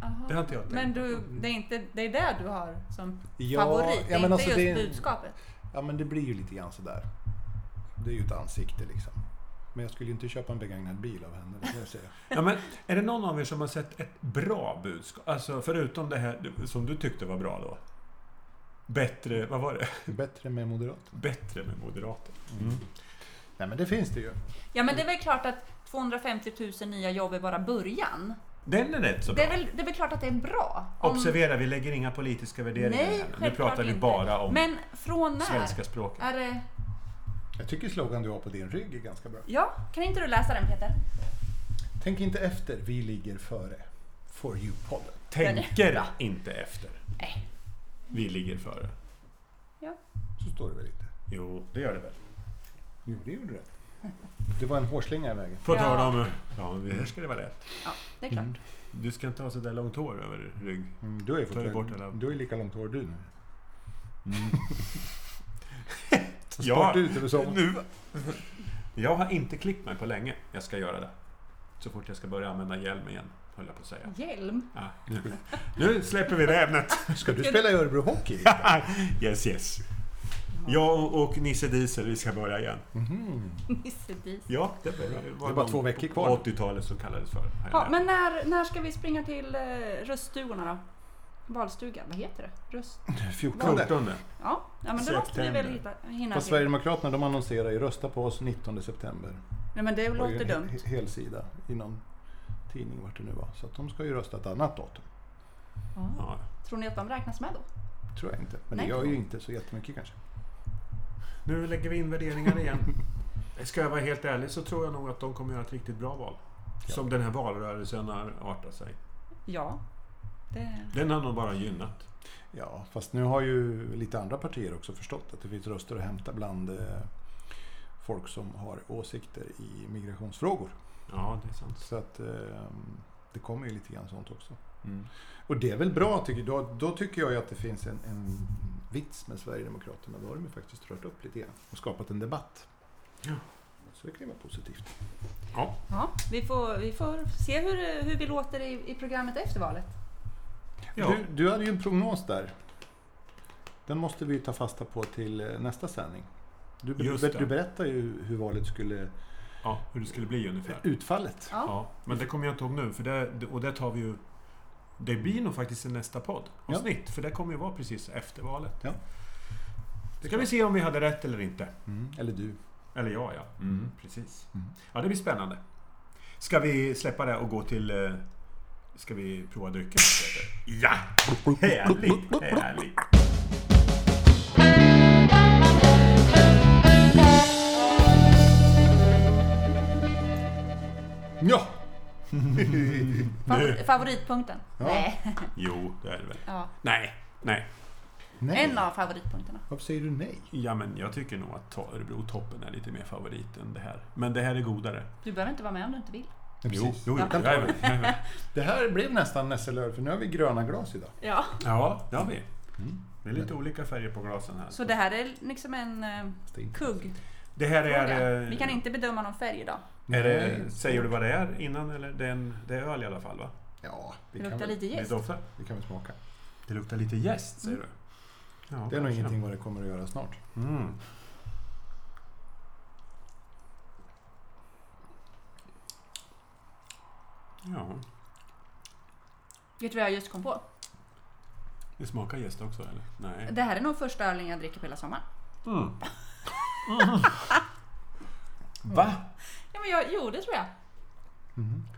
S1: Jaha.
S2: Det har inte jag tänkt
S1: Men
S2: på.
S1: du, det är, inte, det är det du har som
S3: Ja,
S1: favorit?
S3: ja,
S1: det är
S3: men
S1: inte
S3: alltså
S1: just
S3: det är-
S1: budskapet?
S3: Ja men det blir ju lite grann sådär. Det är ju ett ansikte liksom. Men jag skulle ju inte köpa en begagnad bil av henne, det kan jag säga.
S2: Ja, men är det någon av er som har sett ett bra budskap? Alltså förutom det här som du tyckte var bra då? Bättre, vad var det?
S3: Det är bättre med moderat.
S2: Bättre med moderater.
S3: Mm. Nej men det finns det ju.
S1: Ja men det är väl klart att 250 000 nya jobb är bara början.
S2: Den är rätt så
S1: Det
S2: bra.
S1: är väl, det är väl klart att det är bra?
S2: Observera, vi lägger inga politiska värderingar
S1: Nej,
S2: här. Nu
S1: självklart
S2: pratar vi
S1: inte.
S2: bara om
S1: Men från när?
S2: svenska språket.
S1: Är det...
S3: Jag tycker slogan du har på din rygg är ganska bra.
S1: Ja, kan inte du läsa den Peter?
S3: Tänk inte efter, vi ligger före. For you-podden.
S2: Tänker inte efter.
S1: Nej.
S2: Vi ligger före.
S3: Så står det väl inte?
S2: Jo, det gör det väl.
S3: Jo, det gjorde det. Det var en hårslinga i vägen.
S2: På
S1: Ja.
S2: tal om... Ja, men det här ska det vara lätt.
S1: Ja, det är klart.
S2: Du ska inte ha så där långt hår över rygg.
S3: Mm, Du är,
S2: Ta det bort, eller?
S3: fortfarande- du är lika långt hår du nu.
S2: Ja,
S3: Sport ut över sommaren.
S2: nu. Jag har inte klippt mig på länge. Jag ska göra det. Så fort jag ska börja använda hjälm igen, höll jag på att säga.
S1: Mm. Hjälm?
S2: Ja, nu. nu släpper vi det ämnet.
S3: Ska du spela i Örebro Hockey?
S2: yes, yes. Jag och, och Nisse Diesel, vi ska börja igen.
S3: Mhm.
S1: Nisse Dis.
S2: Ja, det, var
S3: Det är bara två veckor kvar.
S2: På 80-talet som kallades för.
S1: Ja, men när, när ska vi springa till eh, röststugorna då? Valstuga, vad heter det? Röst...
S3: 14.
S2: 14.
S1: Ja, ja men det måste vi väl
S2: September.
S1: hitta, hinna
S3: Fast
S1: till.
S3: Sverigedemokraterna de annonserar ju rösta på oss 19 september.
S1: Nej men det
S3: var ju
S1: låter
S3: en
S1: dumt.
S3: he- Hel sida i någon tidning vart det nu var. Så att de ska ju rösta ett annat datum.
S1: Ja.
S2: Ja.
S1: Tror ni att de räknas med då?
S3: Tror jag inte. Men
S1: Nej.
S3: det gör ju inte så jättemycket kanske.
S2: Nu lägger vi in värderingar igen. Ska jag vara helt ärlig så tror jag nog att de kommer göra ett riktigt bra val. Som den här valrörelsen har artat sig.
S1: Ja. Det...
S2: Den har nog bara gynnat.
S3: Ja, fast nu har ju lite andra partier också förstått att det finns röster att hämta bland eh, folk som har åsikter i migrationsfrågor.
S2: Ja, det är sant.
S3: Så att eh, det kommer ju lite grann sånt också.
S2: Mm.
S3: Och det är väl bra, tycker, då, då tycker jag ju att det finns en, en vits med Sverigedemokraterna. Då har de ju faktiskt rört upp lite grann och skapat en debatt.
S2: Ja.
S3: Så det kan ju vara positivt.
S2: Ja.
S1: Ja, vi får, vi får se hur, hur vi låter i, i programmet efter valet.
S2: Ja.
S3: Du, du hade ju en prognos där. Den måste vi ju ta fasta på till eh, nästa sändning. Du,
S2: Just
S3: du,
S2: det.
S3: du berättade ju hur valet skulle...
S2: ja, hur det skulle bli ungefär.
S3: Utfallet.
S1: Ja.
S2: Ja, men det kommer jag inte ihåg nu. För det, och det tar vi ju... Det blir nog faktiskt i nästa podd. Avsnitt. För det kommer ju vara precis efter valet.
S3: Ja.
S2: Då ska vi se om vi hade rätt eller inte.
S3: Mm. Eller du.
S2: Eller ja, ja. Precis.
S3: Mm.
S2: Ja, det blir spännande. Ska vi släppa det och gå till... eh, Ska vi prova drycken? Ja! Härligt, härligt.
S3: Ja!
S1: Favor- favoritpunkten? Nej.
S2: Jo, det är det väl.
S1: Ja.
S2: Nej, nej.
S3: Nej.
S1: En av favoritpunkterna.
S3: Varför säger du nej?
S2: Ja, men jag tycker nog att Ta- Örebro-toppen är lite mer favorit än det här. Men det här är godare.
S1: Du behöver inte vara med om du inte vill.
S2: Jo,
S3: precis.
S2: jo, jo.
S3: Jag kan ta
S2: jajamän, jajamän.
S3: Det här blev nästan nässelöl, för nu har vi gröna glas idag.
S1: Ja.
S2: Ja, det har vi.
S3: Mm.
S2: Det är lite olika färger på glasen här.
S1: Så det här är liksom en eh,
S3: Stig.
S1: kugg.
S2: Det här är...
S1: fråga.
S2: eh,
S1: Vi kan inte bedöma någon färg idag.
S2: Är
S3: Nej.
S2: det, säger du vad det är innan? Eller? Det, är en, det är öl i alla fall va?
S3: Ja,
S1: Det
S3: vi kan,
S1: luktar
S3: väl,
S1: lite jäst.
S2: Det doftar.
S3: vi kan väl smaka.
S2: Det luktar lite jäst säger
S1: Mm.
S2: du. Ja,
S3: Det är nog
S2: kanske.
S3: ingenting vad det kommer att göra snart.
S2: Mm. Ja,
S1: Vet du vad jag just kom på?
S2: det smakar jäst också eller? Nej.
S1: Det här är nog första ölen jag dricker på hela sommaren.
S2: Mm. Va?
S1: Ja, men jag, jo, det tror jag.
S3: Mhm.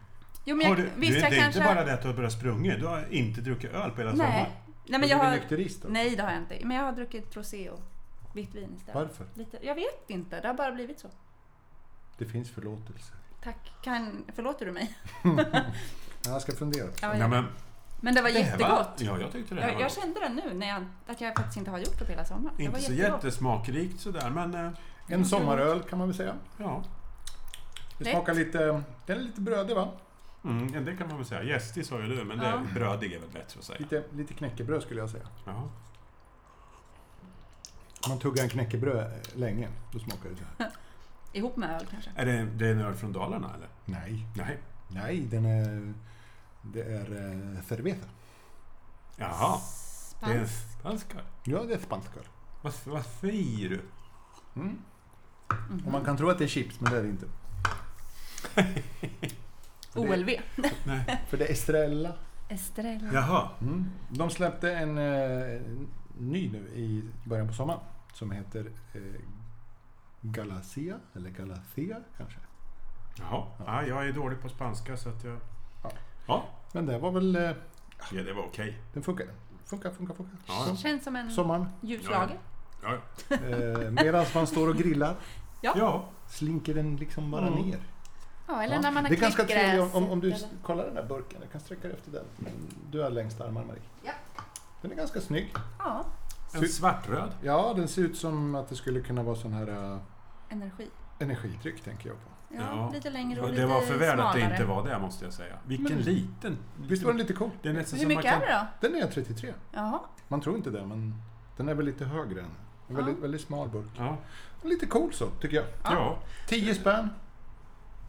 S1: Jo, men
S2: Har
S1: jag,
S2: du,
S1: visst,
S2: du,
S1: jag
S2: det är
S1: kanske...
S2: inte bara det att du har börjat sprungit, du har inte druckit öl på hela sommaren.
S1: Nej. Nej, men jag
S3: du är
S1: har...
S3: nykterist då?
S1: Nej, det har jag inte. Men jag har druckit rosé och vitt vin istället.
S3: Varför?
S1: Lite, jag vet inte, det har bara blivit så.
S3: Det finns förlåtelse.
S1: Tack. Kan, förlåter du mig?
S3: Jag ska fundera.
S1: Ja,
S2: Nej, men,
S1: men det var
S2: här
S1: jättegott.
S2: Ja, jag tyckte det här
S1: Jag,
S2: var
S1: jag
S2: gott.
S1: kände det nu, när jag, att jag faktiskt inte har gjort det på hela sommaren. det
S2: Inte
S1: var
S2: så
S1: jättegott.
S2: jättesmakrikt sådär, men eh,
S3: En sommaröl kan man väl säga.
S2: ja.
S3: Det
S1: Lätt.
S3: smakar lite... Den är lite brödig va?
S2: Mm, ja, det kan man väl säga. Gästig sa ju du, men
S1: Ja.
S2: det, brödig är väl bättre att säga.
S3: Lite, lite knäckebröd skulle jag säga.
S2: Ja.
S3: Om man tuggar en knäckebröd eh, länge, då smakar det så här.
S1: Ihop med öl kanske.
S2: Är det, det är en öl från Dalarna eller?
S3: Nej,
S2: Nej.
S3: nej, den är... Det är eh, cerveza.
S2: Jaha, det är en
S1: Spansk.
S2: spansk öl.
S3: Ja, det är spansk öl.
S2: Vad, vad säger du?
S3: Mm.
S1: Mhm.
S3: Och man kan tro att det är chips, men det är det inte. För det-
S1: OLV.
S2: Nej.
S3: För det är Estrella.
S1: Estrella.
S2: Jaha.
S3: Mm. De släppte en eh, ny nu i början på sommaren som heter eh, Galacia, eller Galathea kanske.
S2: Jaha. Ja, jag är dålig på spanska så att jag...
S3: Ja.
S2: Ja,
S3: Men det var väl... Eh,
S2: ja det var okej.
S3: den funkar. Funkar, funkar, funkar.
S2: Ja,
S3: Som-
S1: Känns som en
S3: Sommaren.
S1: ljus
S2: Ja,
S1: lager.
S2: Ja.
S3: Eh, Medan man står och grillar
S1: Ja.
S2: ja.
S3: slinker den liksom bara
S2: Mm.
S3: ner.
S1: Ja, eller
S3: Ja.
S1: när man har
S3: det är ganska
S1: kläckt
S3: trevligt om,
S1: gräset
S3: om, om du
S1: eller-
S3: kollar den där burken. Du kan sträcka dig efter den. Du har längst armar, Marie.
S1: Ja.
S3: Den är ganska snygg.
S1: Ja,
S2: En svartröd.
S3: Ja, den ser ut som att det skulle kunna vara sån här eh,
S1: energi.
S3: energidryck tänker jag på.
S1: Ja,
S2: Ja.
S1: lite längre och lite
S2: Det var för väl att det
S1: smalare.
S2: inte var det måste jag säga. Vilken
S3: Men-
S2: liten...
S3: Visst var den lite cool?
S2: Det är nästan
S1: Hur
S2: som man
S1: mycket
S2: kan...
S1: är det då?
S3: Den är 33.
S1: Jaha.
S3: Man tror inte det, men den är väl lite högre än. En väldigt,
S1: Ja.
S3: väldigt smal burk.
S2: Ja.
S3: Lite cool så, tycker jag.
S1: Ja.
S2: ja,
S3: 10 spänn.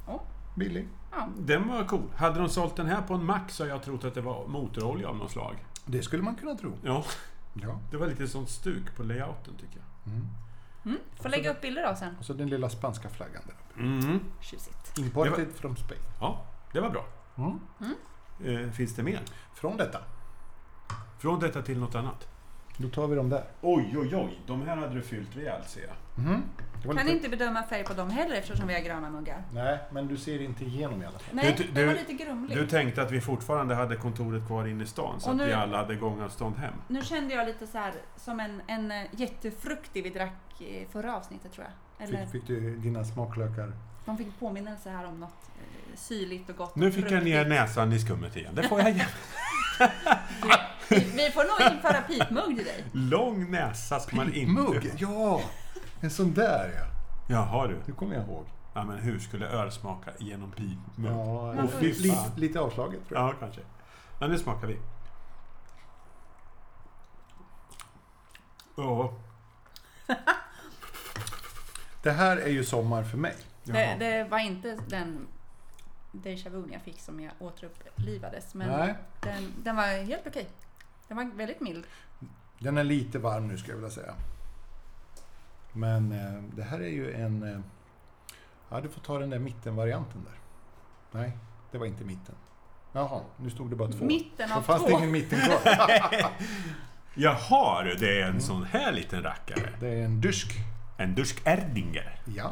S1: Ja.
S3: Billig.
S1: Ja.
S2: den var cool. Hade de sålt den här på en mack så hade jag trott att det var motorolja av något slag.
S3: Det skulle man kunna tro.
S2: Ja,
S3: Ja.
S2: det var lite sånt stuk på layouten tycker jag.
S3: Mm.
S1: Mm. Får lägga
S2: Alltså-
S1: upp bilder då sen.
S3: Och så den lilla spanska flaggan där.
S2: Mm.
S1: Tjusigt.
S3: Imported from Spain.
S2: Ja, det var bra.
S3: Mm.
S2: Eh, finns det mer?
S3: Från detta.
S2: Från detta till något annat.
S3: Då tar vi dem där.
S2: Oj, oj, oj. De här hade du fyllt rejält ser jag.
S3: Mm. Det var
S1: Kan
S3: lite-
S1: inte bedöma färg på dem heller eftersom vi har gröna muggar.
S3: Nej, men du ser inte igenom i alla fall.
S1: Nej,
S2: Du-
S1: det var
S2: du-
S1: lite grumligt.
S2: Du tänkte att vi fortfarande hade kontoret kvar inne i stan så
S1: Och nu-
S2: att vi alla hade gångavstånd hem.
S1: Nu kände jag lite så här som en, en eh, jättefruktig vi drack eh, förra avsnittet tror jag. Eller
S3: Fick, fick du dina smaklökar?
S1: man fick påminnelse här om något eh, syrligt och gott. och
S2: Nu fick jag ner
S1: fruktigt.
S2: näsan i skummet igen. Det får jag igen.
S1: Vi, vi får nog införa pipmugg till dig.
S2: Lång näsa som man inte...
S3: Mugg! Ja! En sån där ja.
S2: Jaha du.
S3: Nu kommer jag ihåg.
S2: Ja, men hur skulle öl smaka genom pipmugg? Ja.
S3: Ja,
S1: Men
S3: li,
S2: fy
S3: li,
S2: fan.
S3: lite avslaget tror jag.
S2: ja, kanske. Men nu smakar vi. Ja.
S3: Det här är ju sommar för mig.
S1: Det,
S2: jaha.
S1: det var inte den déjà vu jag fick som jag återupplivades. Men
S3: Nej,
S1: den, den var helt okej. Den var väldigt mild.
S3: den är lite varm nu skulle jag vilja säga. Men eh, det här är ju en... Eh, ja, du får ta den där mittenvarianten där. Nej, det var inte mitten. Jaha, nu stod det bara två.
S1: Mitten
S3: Då
S1: av
S3: fanns det
S1: två.
S3: ingen mitten kvar.
S2: Jaha du, det är
S1: Mm.
S2: en sån här liten rackare.
S3: Det är en dusk.
S2: En dusk Erdinger.
S3: Ja.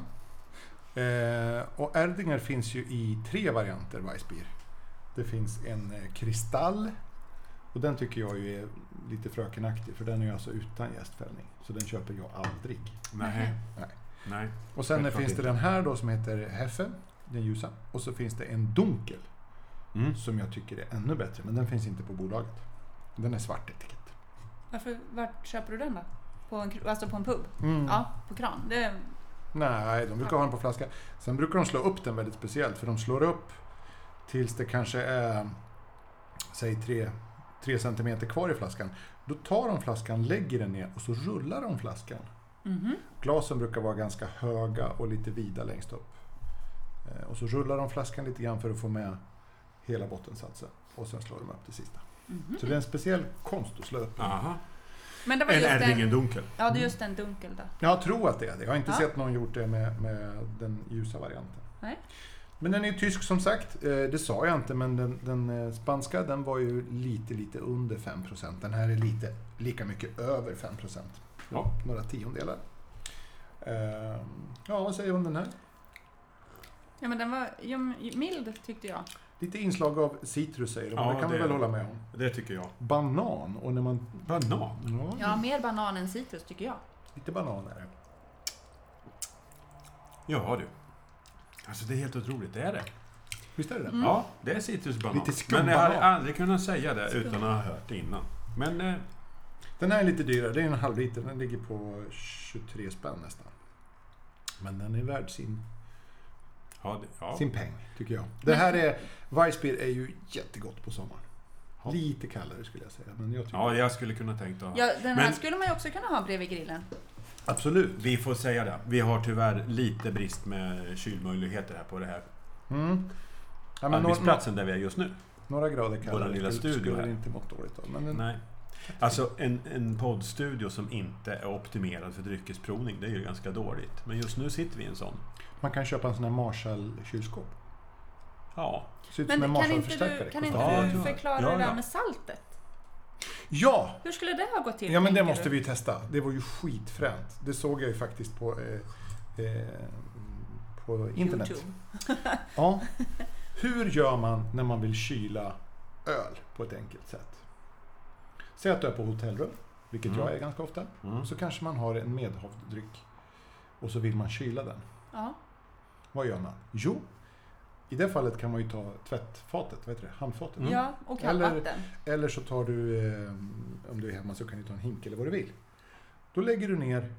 S3: Eh, och Erdinger finns ju i tre varianter Weissbier. Det finns en eh, kristall och den tycker jag ju är lite frökenaktig för den är ju alltså utan jästfällning. Så den köper jag aldrig.
S1: Mhm.
S2: Nej.
S3: Nej.
S2: Nej.
S3: Och sen
S2: Självklart
S3: finns det
S2: inte.
S3: den här då som heter Heffe, den ljusa. Och så finns det en dunkel
S2: Mm.
S3: som jag tycker är ännu bättre men den finns inte på bolaget. Den är svart etikett.
S1: Varför, vart köper du den då? På en, kr- alltså på en pub?
S3: Mm.
S1: Ja, på kran. Det,
S3: Nej, de brukar ha den på flaska. Sen brukar de slå upp den väldigt speciellt, för de slår upp tills det kanske är, säg tre, tre centimeter kvar i flaskan. Då tar de flaskan, lägger den ner och så rullar de flaskan.
S1: Mhm.
S3: Glasen brukar vara ganska höga och lite vida längst upp. Eh, Och så rullar de flaskan lite grann för att få med hela bottensatsen. Och sen slår de upp det sista.
S1: Mhm.
S3: Så det är en speciell konst att slå upp.
S2: Aha.
S1: Men det var
S2: Eller
S1: just
S2: är det
S1: en,
S2: ingen dunkel?
S1: ja, det är just en dunkel då.
S3: Jag tror att det är det. Jag har inte
S1: Ja.
S3: sett någon gjort det med, med den ljusa varianten.
S1: Nej.
S3: Men den är ju tysk som sagt. Eh, Det sa jag inte, men den, den eh, spanska den var ju lite, lite under 5 Den här är lite, lika mycket över 5
S2: Ja.
S3: Några tiondelar. Eh, Ja, vad säger du om den här?
S1: Ja, men den var ja, mild tyckte jag.
S3: Lite inslag av citrus säger de,
S2: Ja,
S3: ja, det kan
S2: det-
S3: man väl hålla med om.
S2: Det tycker jag.
S3: Banan, och när man...
S2: Banan?
S3: Ja,
S1: Ja, mer banan än citrus tycker jag.
S3: lite banan är det.
S2: Ja du. Alltså det är helt otroligt, det är det.
S3: Visst är det det?
S1: Mm.
S2: Ja, det är citrusbanan.
S3: Lite
S2: Men
S3: skumbanan.
S2: jag hade aldrig kunnat säga det utan att ha hört det innan. Men eh,
S3: Den här är lite dyrare, det är en halv liter. Den ligger på 23 spänn nästan. Men den är värd sin,
S2: ja, det, ja.
S3: sin peng, tycker jag. Det här är... Weissbier är ju jättegott på sommaren.
S2: Ja.
S3: Lite kallare skulle jag säga, men jag tycker...
S2: ja, jag skulle kunna tänkt att...
S1: Ja, den här
S2: Men-
S1: skulle man ju också kunna ha bredvid grillen.
S3: Absolut.
S2: Vi får säga det. Vi har tyvärr lite brist med kylmöjligheter här på det här
S3: Mm. Ja, men några, några,
S2: arbetsplatsen där vi är just nu.
S3: några grader kallare
S2: Våran lilla
S3: skulle-
S2: studio
S3: skulle
S2: här.
S3: det inte mått dåligt av. Men
S2: Nej. Alltså en, en poddstudio som inte är optimerad för dryckesprovning, det är ju ganska dåligt. Men just nu sitter vi i en sån.
S3: man kan köpa en sån här Marshall-kylskåp.
S2: Ja,
S3: Ser ut som en
S1: Men kan inte
S3: Marshall-förstärkare.
S1: du, kan inte
S2: Ja, jag
S1: du
S2: tror det.
S1: förklara
S2: Ja,
S1: det där
S2: ja.
S1: med saltet?
S3: Ja!
S1: Hur skulle det ha gått till?
S3: Ja men det
S1: tänker
S3: måste
S1: du?
S3: vi ju testa. Det var ju skitfränt. Det såg jag ju faktiskt på, eh, eh, på internet.
S1: YouTube.
S3: Ja. Hur gör man när man vill kyla öl på ett enkelt sätt? Säg att du är på hotellrum, vilket
S2: Mm.
S3: jag är ganska ofta.
S2: mm.
S3: Så kanske man har en medhavd dryck och så vill man kyla den.
S1: Ja.
S3: Vad gör man? Jo, i det fallet kan man ju ta tvättfatet, vad heter det? handfatet.
S2: Mm.
S1: ja, och kallvatten.
S3: Eller så tar du, eh, om du är hemma så kan du ta en hink eller vad du vill. Då lägger du ner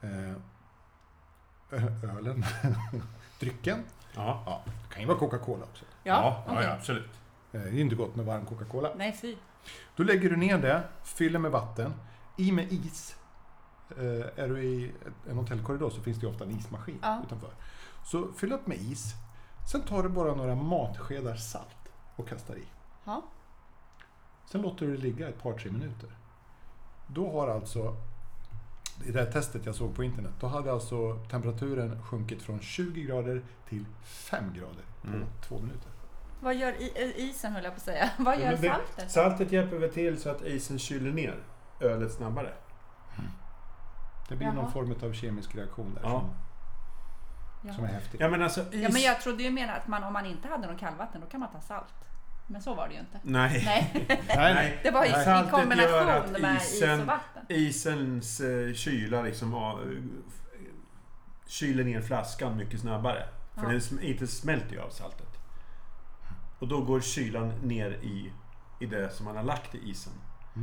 S3: eh, ö- ölen, drycken.
S2: ja.
S3: Det kan ju vara Coca-Cola också.
S1: Ja,
S2: ja,
S1: okej.
S2: ja, absolut.
S3: Eh, det är inte gott med varm Coca-Cola.
S1: Nej, fy.
S3: Då lägger du ner det, fyller med vatten, i med is. Eh, är du i ett- en hotellkorridor så finns det ju ofta en ismaskin
S1: Ja.
S3: utanför. Så fyll upp med is. Sen tar du bara några matskedar salt och kastar i.
S1: Ja.
S3: Sen låter du det ligga ett par, tre minuter. Då har alltså, i det här testet jag såg på internet, då hade alltså temperaturen sjunkit från 20 grader till 5 grader på
S2: Mm.
S3: två minuter.
S1: Vad gör i, i- isen höll jag på att säga. Vad
S2: Ja,
S1: gör
S2: men det-
S1: saltet?
S2: Saltet hjälper väl till så att isen kyler ner ölet snabbare?
S3: Det blir
S1: Jaha.
S3: någon form av kemisk reaktion där
S2: Ja.
S1: Ja.
S3: som, som är häftig.
S2: Ja men alltså is...
S1: ja, men jag trodde ju mer att man, om man inte hade någon kallvatten, då kan man ta salt. Men så var det ju inte.
S2: Nej.
S1: Nej,
S3: Nej, nej.
S2: Nej.
S1: det var ju
S2: Nej.
S1: i
S2: Saltet gör
S1: kombination
S2: att
S1: med is och
S2: isen-
S1: vatten.
S2: Isens eh, kyla liksom av, kyler ner flaskan mycket snabbare. För
S1: Ja.
S2: den sm- inte smälter ju av saltet. Och då går kylan ner i, i det som man har lagt i isen.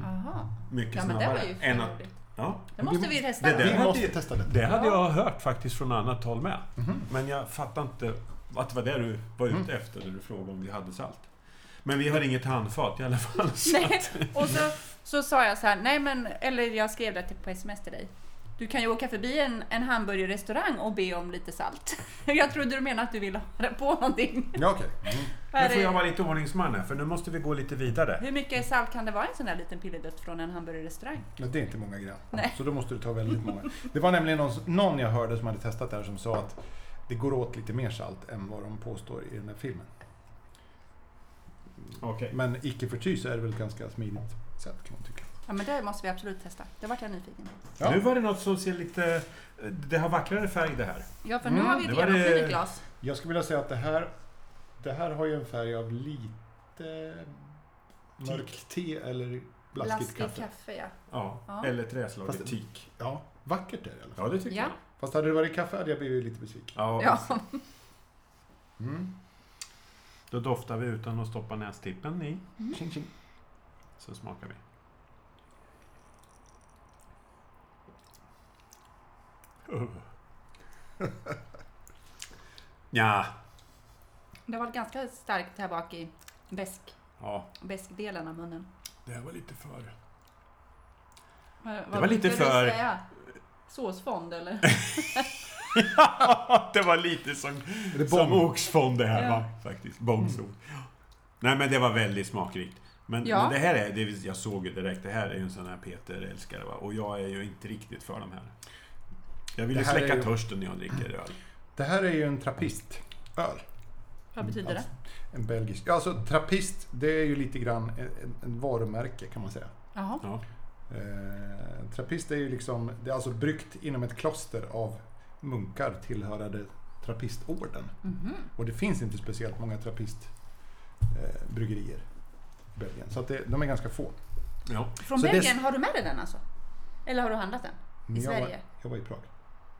S1: Aha.
S2: Mycket
S1: Ja, men det
S2: snabbare.
S1: var ju
S2: än
S1: för
S2: att,
S1: roligt.
S2: ja.
S1: Det måste vi testa.
S2: Det där-
S3: Vi
S2: hade
S3: måste
S2: ju-
S3: testa det.
S2: Det hade
S1: Ja. Mhm.
S2: jag hört faktiskt från annat håll med. Men jag fattar inte att det var det du var ute
S1: Mm.
S2: efter när du frågade om vi hade salt. Men vi har inget handfat i alla fall. så-
S1: Nej. Och så, så sa jag så här, nej men, eller jag skrev det till- på sms till dig. Du kan ju åka förbi en, en hamburgerrestaurang och be om lite salt. Jag trodde du menade att du ville ha det på någonting.
S3: Ja, okej. Mm.
S2: Nu
S1: Här
S2: får
S1: är-
S2: jag vara lite ordningsman här, för nu måste vi gå lite vidare.
S1: Hur mycket salt kan det vara i en sån där liten pillerdutt från en hamburgerrestaurang?
S3: Men Det är inte många gram.
S1: Nej.
S3: Så då måste du ta väldigt många. Det var nämligen någon, någon jag hörde som hade testat det här som sa att det går åt lite mer salt än vad de påstår i den här filmen.
S2: Okej.
S3: Men icke förty så är det väl ett ganska smidigt sätt kan man tycka.
S1: Ja men det måste vi absolut testa. Det vart jag nyfiken på.
S3: Ja.
S2: Nu var det något som ser lite... Det har vackrare färg det här.
S1: Ja för nu
S3: Mm,
S1: har vi
S2: det
S1: ett
S2: var det-
S1: genomskinligt glas.
S3: Jag skulle vilja säga att det här, det här har ju en färg av lite mörkt te eller blaskigt
S1: Blaskigt
S3: kaffe.
S1: kaffe. ja.
S2: Ja,
S1: Ja.
S2: eller träslaget
S3: Fast-
S2: tik.
S3: Ja, vackert är det i alla fall.
S2: Ja, det tycker
S1: Ja.
S2: jag.
S3: Fast hade det varit kaffe hade jag blivit lite besviken.
S2: Ja,
S1: Ja.
S3: Mm.
S2: Då doftar vi utan att stoppa nästippen i.
S1: Mm.
S3: Tjing, tjing.
S2: Så smakar vi. Uh. ja.
S1: Det var ganska starkt här bak i besk.
S2: Ja,
S1: Bäskdelen av munnen.
S2: det här var lite för...
S1: Vad- vad
S2: Det var lite
S1: brukar du
S2: för-
S1: säga? Såsfond eller?
S2: Ja, det var lite som,
S3: Det är
S2: som
S3: bomb. Mm.
S2: oxfond det här
S1: Ja.
S2: va? Faktiskt. Bongsord. Nej men det var väldigt smakrikt. Men,
S1: Ja.
S2: men det här är, det, vill- jag såg ju direkt, det här är ju en sån här Peter-älskare va? Och jag är ju inte riktigt för de här. Jag vill
S3: Det
S2: ju
S3: här
S2: släcka
S3: är ju-
S2: törsten när jag dricker öl.
S3: Det här är ju en trappistöl.
S1: Vad betyder det?
S3: Alltså, En belgisk. Ja, Alltså trappist, det är ju lite grann en, en varumärke kan man säga.
S1: Jaha.
S2: Ja.
S3: Eh, trappist är ju liksom, det är alltså bryggt inom ett kloster av munkar tillhörande trappistorden.
S1: Mhm.
S3: Och det finns inte speciellt många trappistbryggerier eh, bryggerier i Belgien. Så att det, de är ganska få.
S2: Ja.
S1: Från
S3: Så det-
S1: Belgien, har du med dig den alltså? Eller har du handlat den? I
S3: Men jag var,
S1: Sverige?
S3: jag var i Prag.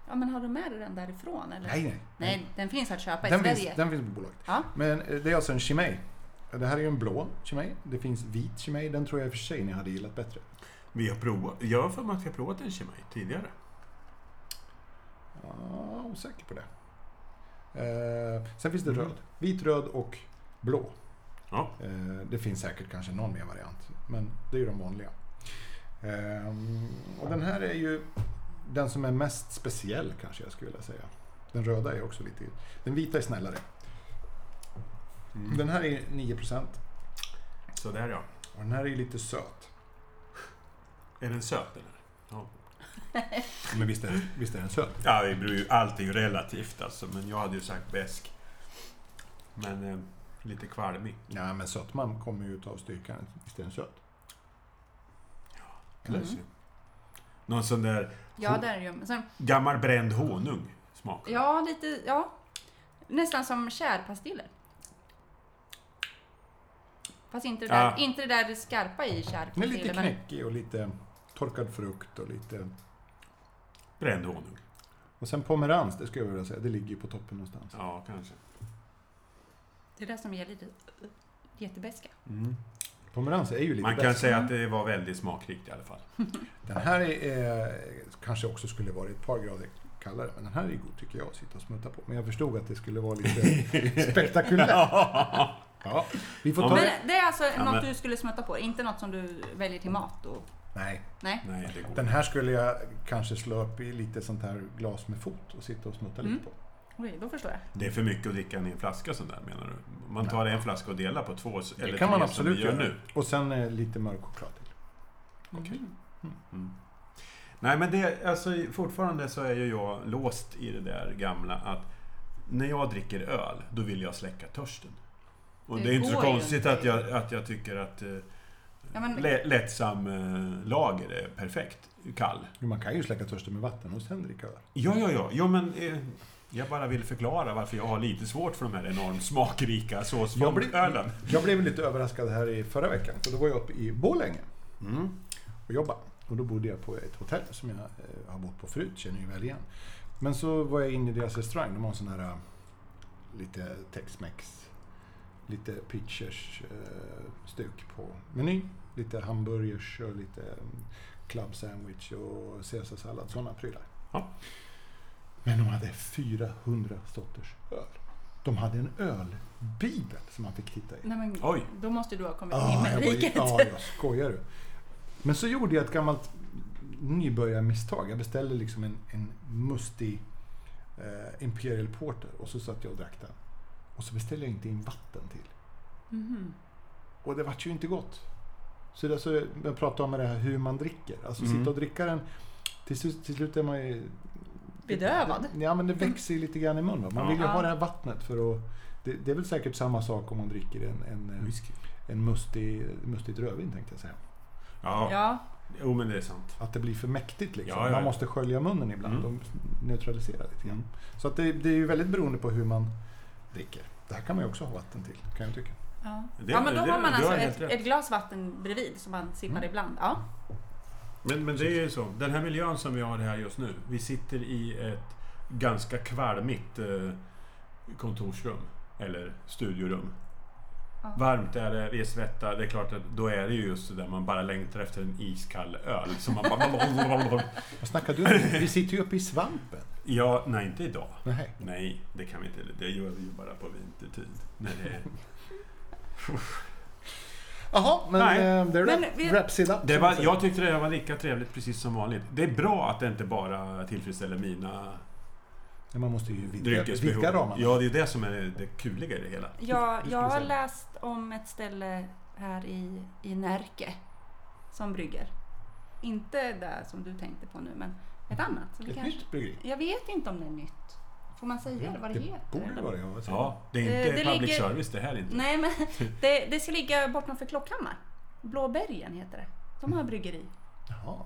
S1: Ja, men har du med dig den därifrån? Eller?
S3: Nej, nej.
S1: Nej, den finns att köpa i
S3: Den,
S1: Sverige.
S3: finns, den finns på bolaget.
S1: Ja.
S3: Men eh, det är alltså en Chimay. Det här är ju en blå Chimay. Det finns vit Chimay. Den tror jag i och för sig ni hade gillat bättre.
S2: Vi har provat, jag har för mig att vi har provat en Chimay tidigare.
S3: Ja, osäker på det. Eh, sen finns det
S2: Mm.
S3: röd. Vit, röd och blå.
S2: Ja.
S3: Eh, det finns säkert kanske någon mer variant, men det är ju de vanliga. Eh, och den här är ju den som är mest speciell kanske jag skulle vilja säga. Den röda är också lite... Den vita är snällare.
S2: Mm.
S3: Den här är 9%
S2: Sådär ja.
S3: och den här är ju lite söt.
S2: Är den söt eller?
S3: Men visst är, visst är den söt?
S2: Ja, det beror ju, allt är ju relativt alltså. Men jag hade ju sagt besk. Men eh, lite kvalmig.
S3: Ja, men sötman kommer ju utav styrkan. Visst är den söt?
S1: Mm.
S2: Kanske. Någon sån där
S1: Ja, där är ju. men Sen,
S2: gammal bränd honung smak.
S1: ja, lite, ja. Nästan som tjärpastiller. Fast inte det, där,
S2: Ja.
S1: inte det där det skarpa i
S3: Den är Ah. lite
S1: tjärpastiller. men-
S3: knäckig och lite torkad frukt och lite...
S2: Bränd honung.
S3: Och sen pomerans, det skulle jag vilja säga, det ligger ju på toppen någonstans.
S2: Ja, kanske.
S1: Det är det som ger lite jättebeska.
S3: Pomerans är ju lite
S2: Man kan
S3: bäst.
S2: säga att det var väldigt smakrikt i alla fall.
S3: Den här är, eh, kanske också skulle varit ett par grader kallare, men den här är ju god tycker jag att sitta och smutta på. Men jag förstod att det skulle vara lite spektakulärt. Ja, vi får ta det.
S1: Men det är alltså
S2: Ja,
S1: något
S2: men-
S1: du skulle smutta på, inte något som du väljer till mat? Och...
S3: Nej,
S1: Nej.
S2: Nej, det går.
S3: den här skulle jag kanske slå upp i lite sånt här glas med fot och sitta och smutta
S1: Mm.
S3: lite på.
S1: Okej, då förstår jag.
S2: Det är för mycket att dricka i en flaska sån där menar du? Man tar en flaska och delar på två eller
S3: Det
S2: tre
S3: kan man
S2: som vi
S3: absolut
S2: gör
S3: göra.
S2: nu.
S3: Och sen eh, lite mörk choklad till.
S2: Okej.
S1: Mhm.
S2: Mm. Nej, men det, alltså, fortfarande så är ju jag låst i det där gamla att när jag dricker öl, då vill jag släcka törsten. Och
S1: Det
S2: det, är inte så
S1: går ju
S2: konstigt
S1: inte.
S2: att jag, att jag tycker att eh,
S1: Ja, men-
S2: lä, lättsam eh, lager är perfekt kall.
S3: Jo, Man kan ju släcka törsten med vatten och sen dricka öl.
S2: Ja, ja, ja. Jo, men, eh, jag bara vill förklara varför jag har lite svårt för de här enormt smakrika
S3: Jag blev-
S2: såsfondölen.
S3: Jag blev lite överraskad här i förra veckan, för då var jag uppe i Borlänge
S2: Mm.
S3: och jobbade. Och då bodde jag på ett hotell som jag eh, har bott på förut, känner ju väl igen. Men så var jag inne i deras restaurang, de har en sån här eh, lite Tex-Mex, lite pitchers-stuk på menyn. Lite hamburgers och lite mm, club sandwich och caesarsallad, sådana prylar.
S2: Ja.
S3: Men de hade 400 sorters öl. De hade en ölbibel som man fick titta i.
S1: Nej, men,
S2: Oj. Ah,
S1: Då måste du ha kommit till
S3: Ja, Ah, jag,
S1: himmelriket.
S3: bara- ja, jag skojar du. Men så gjorde jag ett gammalt nybörjarmisstag. Jag beställde liksom en, en mustig eh, Imperial Porter och så satt jag och drack den. Och så beställde jag inte in vatten till.
S1: Mhm.
S3: Och det vart ju inte gott. Så det, alltså, jag pratade om det här hur man dricker. Alltså
S2: Mm.
S3: sitta och dricka den. Till, slut- till slut är man ju...
S1: Bedövad.
S3: Ja, men det växer ju lite grann i munnen. va? Man
S2: Ja.
S3: vill ju
S1: Ja.
S3: ha det här vattnet för att... Det, det är väl säkert samma sak om man dricker en, en, eh,
S2: Whisky.
S3: en mustig, mustigt rödvin tänkte jag säga.
S2: Ja,
S1: Ja.
S2: jo men det är sant.
S3: att det blir för mäktigt. Liksom.
S2: Ja, ja, ja.
S3: Man måste skölja munnen ibland
S2: Mm.
S3: och neutralisera lite grann.
S2: Mm.
S3: Så att det, det är ju väldigt beroende på hur man dricker. Det här kan man ju också ha vatten till, kan jag tycka.
S1: Ja.
S2: Det-
S1: ja, men då
S2: det-
S1: har man
S2: du
S1: alltså
S2: har helt
S1: ett,
S2: rätt.
S1: ett glas vatten bredvid som man sippar
S3: Mm.
S1: ibland. Ja.
S2: Men, men det är ju så. Den här miljön som vi har här just nu. Vi sitter i ett ganska kvalmigt eh, kontorsrum. Eller studiorum.
S1: Ja.
S2: Varmt är det, vi är svettiga. Det är klart att då är det ju just det där man bara längtar efter en iskall öl. Som man bara...
S3: Vad snackar du om? Vi sitter ju uppe i svampen.
S2: Ja, nej inte idag.
S3: Nej.
S2: Nej, det kan vi inte. Det gör vi ju bara på vintertid. När det är...
S3: Jaha, men
S2: Nej.
S3: eh, det är
S1: Men
S3: wrap-
S1: vi-
S3: wraps it up.
S2: Det
S3: som
S2: var,
S3: man säger.
S2: jag tyckte det var lika trevligt precis som vanligt. Det är bra att det inte bara tillfredsställer mina
S3: Men Man måste ju vidga,
S2: dryckesbehov.
S3: vidga ramarna.
S2: Ja, det är det som är det kuliga i det hela.
S1: Jag,
S3: skulle
S1: jag har
S3: säga.
S1: läst om ett ställe här i, i Närke som brygger. Inte det som du tänkte på nu, men ett annat. Så vi
S3: Ett
S1: kanske,
S3: nytt bryggeri.
S1: Jag vet inte om det är nytt. Får man
S2: Mm.
S1: säga det, vad det, heter?
S3: borde det
S1: eller?
S3: vara det. vad säger
S2: Ja, det är
S1: Eh,
S2: inte
S1: det
S2: public
S1: ligger-
S2: service det här inte.
S1: Nej, men det, det ska ligga bortanför Klockhammar. Blåbergen heter det. De har bryggeri.
S3: du? Jaha.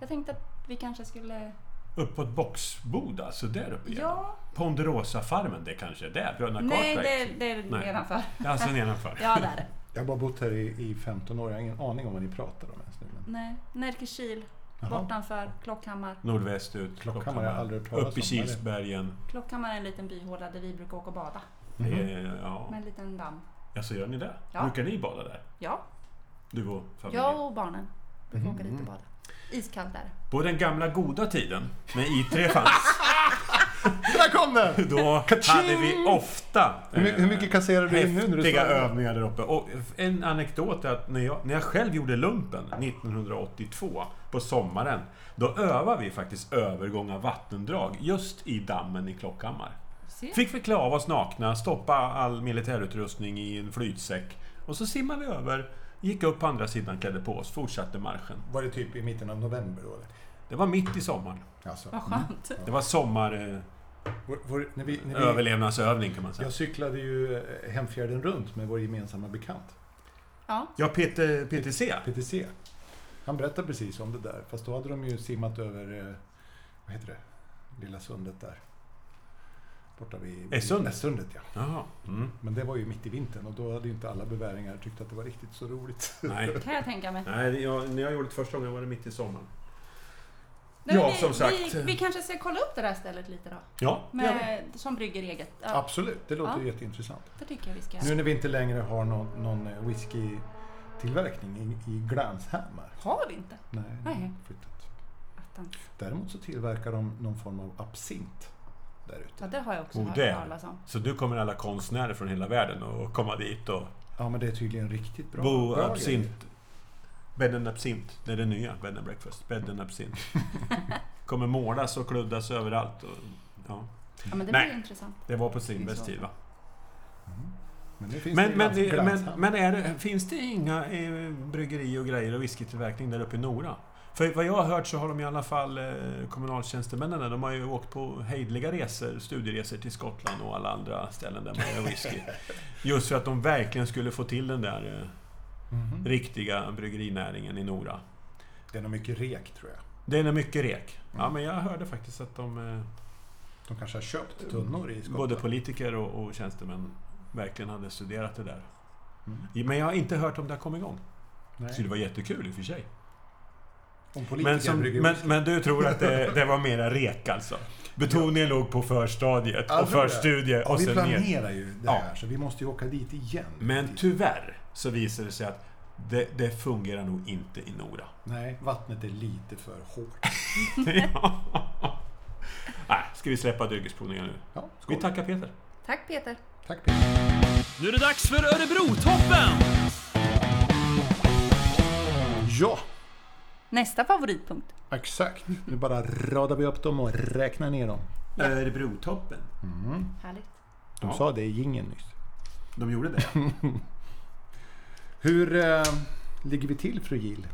S1: Jag tänkte att vi kanske skulle...
S2: Upp på ett boxboda, så där uppe igen.
S1: Ja.
S2: Ponderosa-farmen, det kanske är det? Bröderna
S1: Nej,
S2: Cartwright?
S1: det, det är
S2: Nej.
S1: nedanför.
S2: det är alltså nedanför.
S1: Ja, det är det.
S3: Jag har bara bott här i, i 15 år. Jag har ingen aning om vad ni pratar om ens nu. Men
S1: Nej, Närkekil.
S3: Jaha.
S1: Bortanför Klockhammar.
S2: Nordvästut,
S3: Klockhammar har jag aldrig hört talas
S2: Upp i
S3: om, eller?
S2: Kilsbergen.
S1: Klockhammar är en liten byhåla där vi brukar åka och bada.
S2: Det är- Ja.
S1: Med en liten damm.
S2: Alltså, gör ni det?
S1: Mhm. Ja.
S2: Brukar ni bada där?
S1: Ja,
S2: Du och familjen?
S1: jag och barnen brukar åka
S2: Mm.
S1: dit och bada. Iskallt där.
S2: På den gamla goda tiden, när I3 fanns,
S3: Där kom den!
S2: då
S3: Ka-ching!
S2: hade vi ofta... eh,
S3: Hur mycket, hur mycket kasserar du in nu när du
S2: häftiga
S3: sa det?
S2: övningar där uppe. Och en anekdot är att när jag, när jag själv gjorde lumpen 1982 på sommaren, då övade vi faktiskt övergång av vattendrag just i dammen i Klockhammar.
S1: Se.
S2: Fick vi klä av oss nakna, stoppa all militärutrustning i en flytsäck och så simmade vi över, gick upp på andra sidan, klädde på oss, fortsatte marschen.
S3: Var det typ i mitten av november då eller?
S2: Det var mitt i sommaren.
S3: Alltså,
S1: Vad
S2: Mm.
S1: skönt.
S2: Det var sommar... Eh,
S3: vår, vår, när vi, när vi,
S2: Överlevnadsövning kan man säga.
S3: jag cyklade ju eh, hemfjärden runt med vår gemensamma bekant,
S1: Ja,
S2: Ja, PT, PTC.
S3: PTC. Han berättade precis om det där, fast då hade de ju simmat över, eh, vad heter det, Lilla sundet där. Borta vid...
S2: Essundet?
S3: Essundet, ja.
S2: Jaha. Mm.
S3: Men det var ju mitt i vintern och då hade ju inte alla beväringar tyckt att det var riktigt så roligt.
S2: Nej.
S1: kan jag tänka mig.
S2: Nej, det- jag, när jag gjorde det första gången var det mitt i sommaren.
S1: Nej,
S2: Ja,
S1: men vi,
S2: som sagt.
S1: Vi, vi kanske ska kolla upp det där stället lite då.
S2: Ja,
S1: Med, som brygger eget. Ja,
S3: Absolut, det låter
S1: Ja.
S3: ju jätteintressant.
S1: det tycker jag vi ska.
S3: Nu när vi inte längre har någon, någon whiskytillverkning i, i Glanshammar.
S1: Har vi inte?
S3: Nej, det har
S1: Nej.
S3: flyttat.
S1: Attans.
S3: Däremot så tillverkar de någon form av absint där
S1: Ja,
S3: ute.
S1: det har jag också
S3: Oh,
S2: Och
S1: hört
S2: det.
S1: talas om.
S2: Så du kommer alla konstnärer från hela världen och komma dit och
S3: Ja, men det är tydligen riktigt bra.
S2: bo
S3: bra
S2: absint.
S3: grejer.
S2: Bed and absint. Det är det nya, bed and breakfast. Bed and absint. kommer målas och kluddas överallt. Och, ja.
S1: Ja, men det
S2: Nej.
S1: blir intressant.
S2: Det var på Strindbergs tid va?
S3: Men det alltså finns
S2: Men,
S3: men,
S2: men,
S3: det
S2: men, men är det, finns det inga eh, bryggeri och grejer och whiskytillverkning där uppe i Nora? För vad jag har hört så har de i alla fall eh, kommunaltjänstemännen där, de har ju åkt på hejdliga resor, studieresor till Skottland och alla andra ställen där man gör whisky. Just för att de verkligen skulle få till den där eh, riktiga bryggerinäringen i Nora.
S3: Mhm. Det är nog mycket rek tror jag.
S2: Det är nog mycket rek. Ja, men jag hörde faktiskt att de, eh,
S3: De kanske har köpt tunnor i Skottland.
S2: Mm. både politiker och, och tjänstemän, verkligen hade studerat det där.
S3: Mm.
S2: Men jag har inte hört om det har kommit igång. Så det
S3: Nej.
S2: var jättekul i och för sig.
S3: Om
S2: Men,
S3: politiker
S2: som,
S3: brygger
S2: men,
S3: whisky.
S2: men du tror att det, det var mera rek alltså? Betoningen låg på förstadiet
S3: Ja,
S2: och
S3: tror jag.
S2: förstudie
S3: Ja,
S2: och
S3: vi
S2: sen ner.
S3: planerar ju det
S2: Ja.
S3: här, så vi måste ju åka dit igen. Typ.
S2: Men tyvärr så visade det sig att det, det fungerar nog inte i Nora.
S3: Nej, vattnet är lite för hårt.
S2: Ja. Nej, ska vi släppa dryckesprovningen nu?
S3: Ja,
S2: Vi
S3: skål.
S2: tackar Peter.
S1: Tack Peter.
S3: Tack Peter.
S4: Nu är det dags för Örebro-toppen!
S3: Ja,
S1: Nästa favoritpunkt.
S3: exakt. Nu bara radar vi upp dem och räknar ner dem.
S2: Örebrotoppen.
S1: Härligt.
S3: De
S2: Ja.
S3: sa det i jingeln nyss.
S2: De gjorde det.
S3: Hur eh, ligger vi till fru Gill?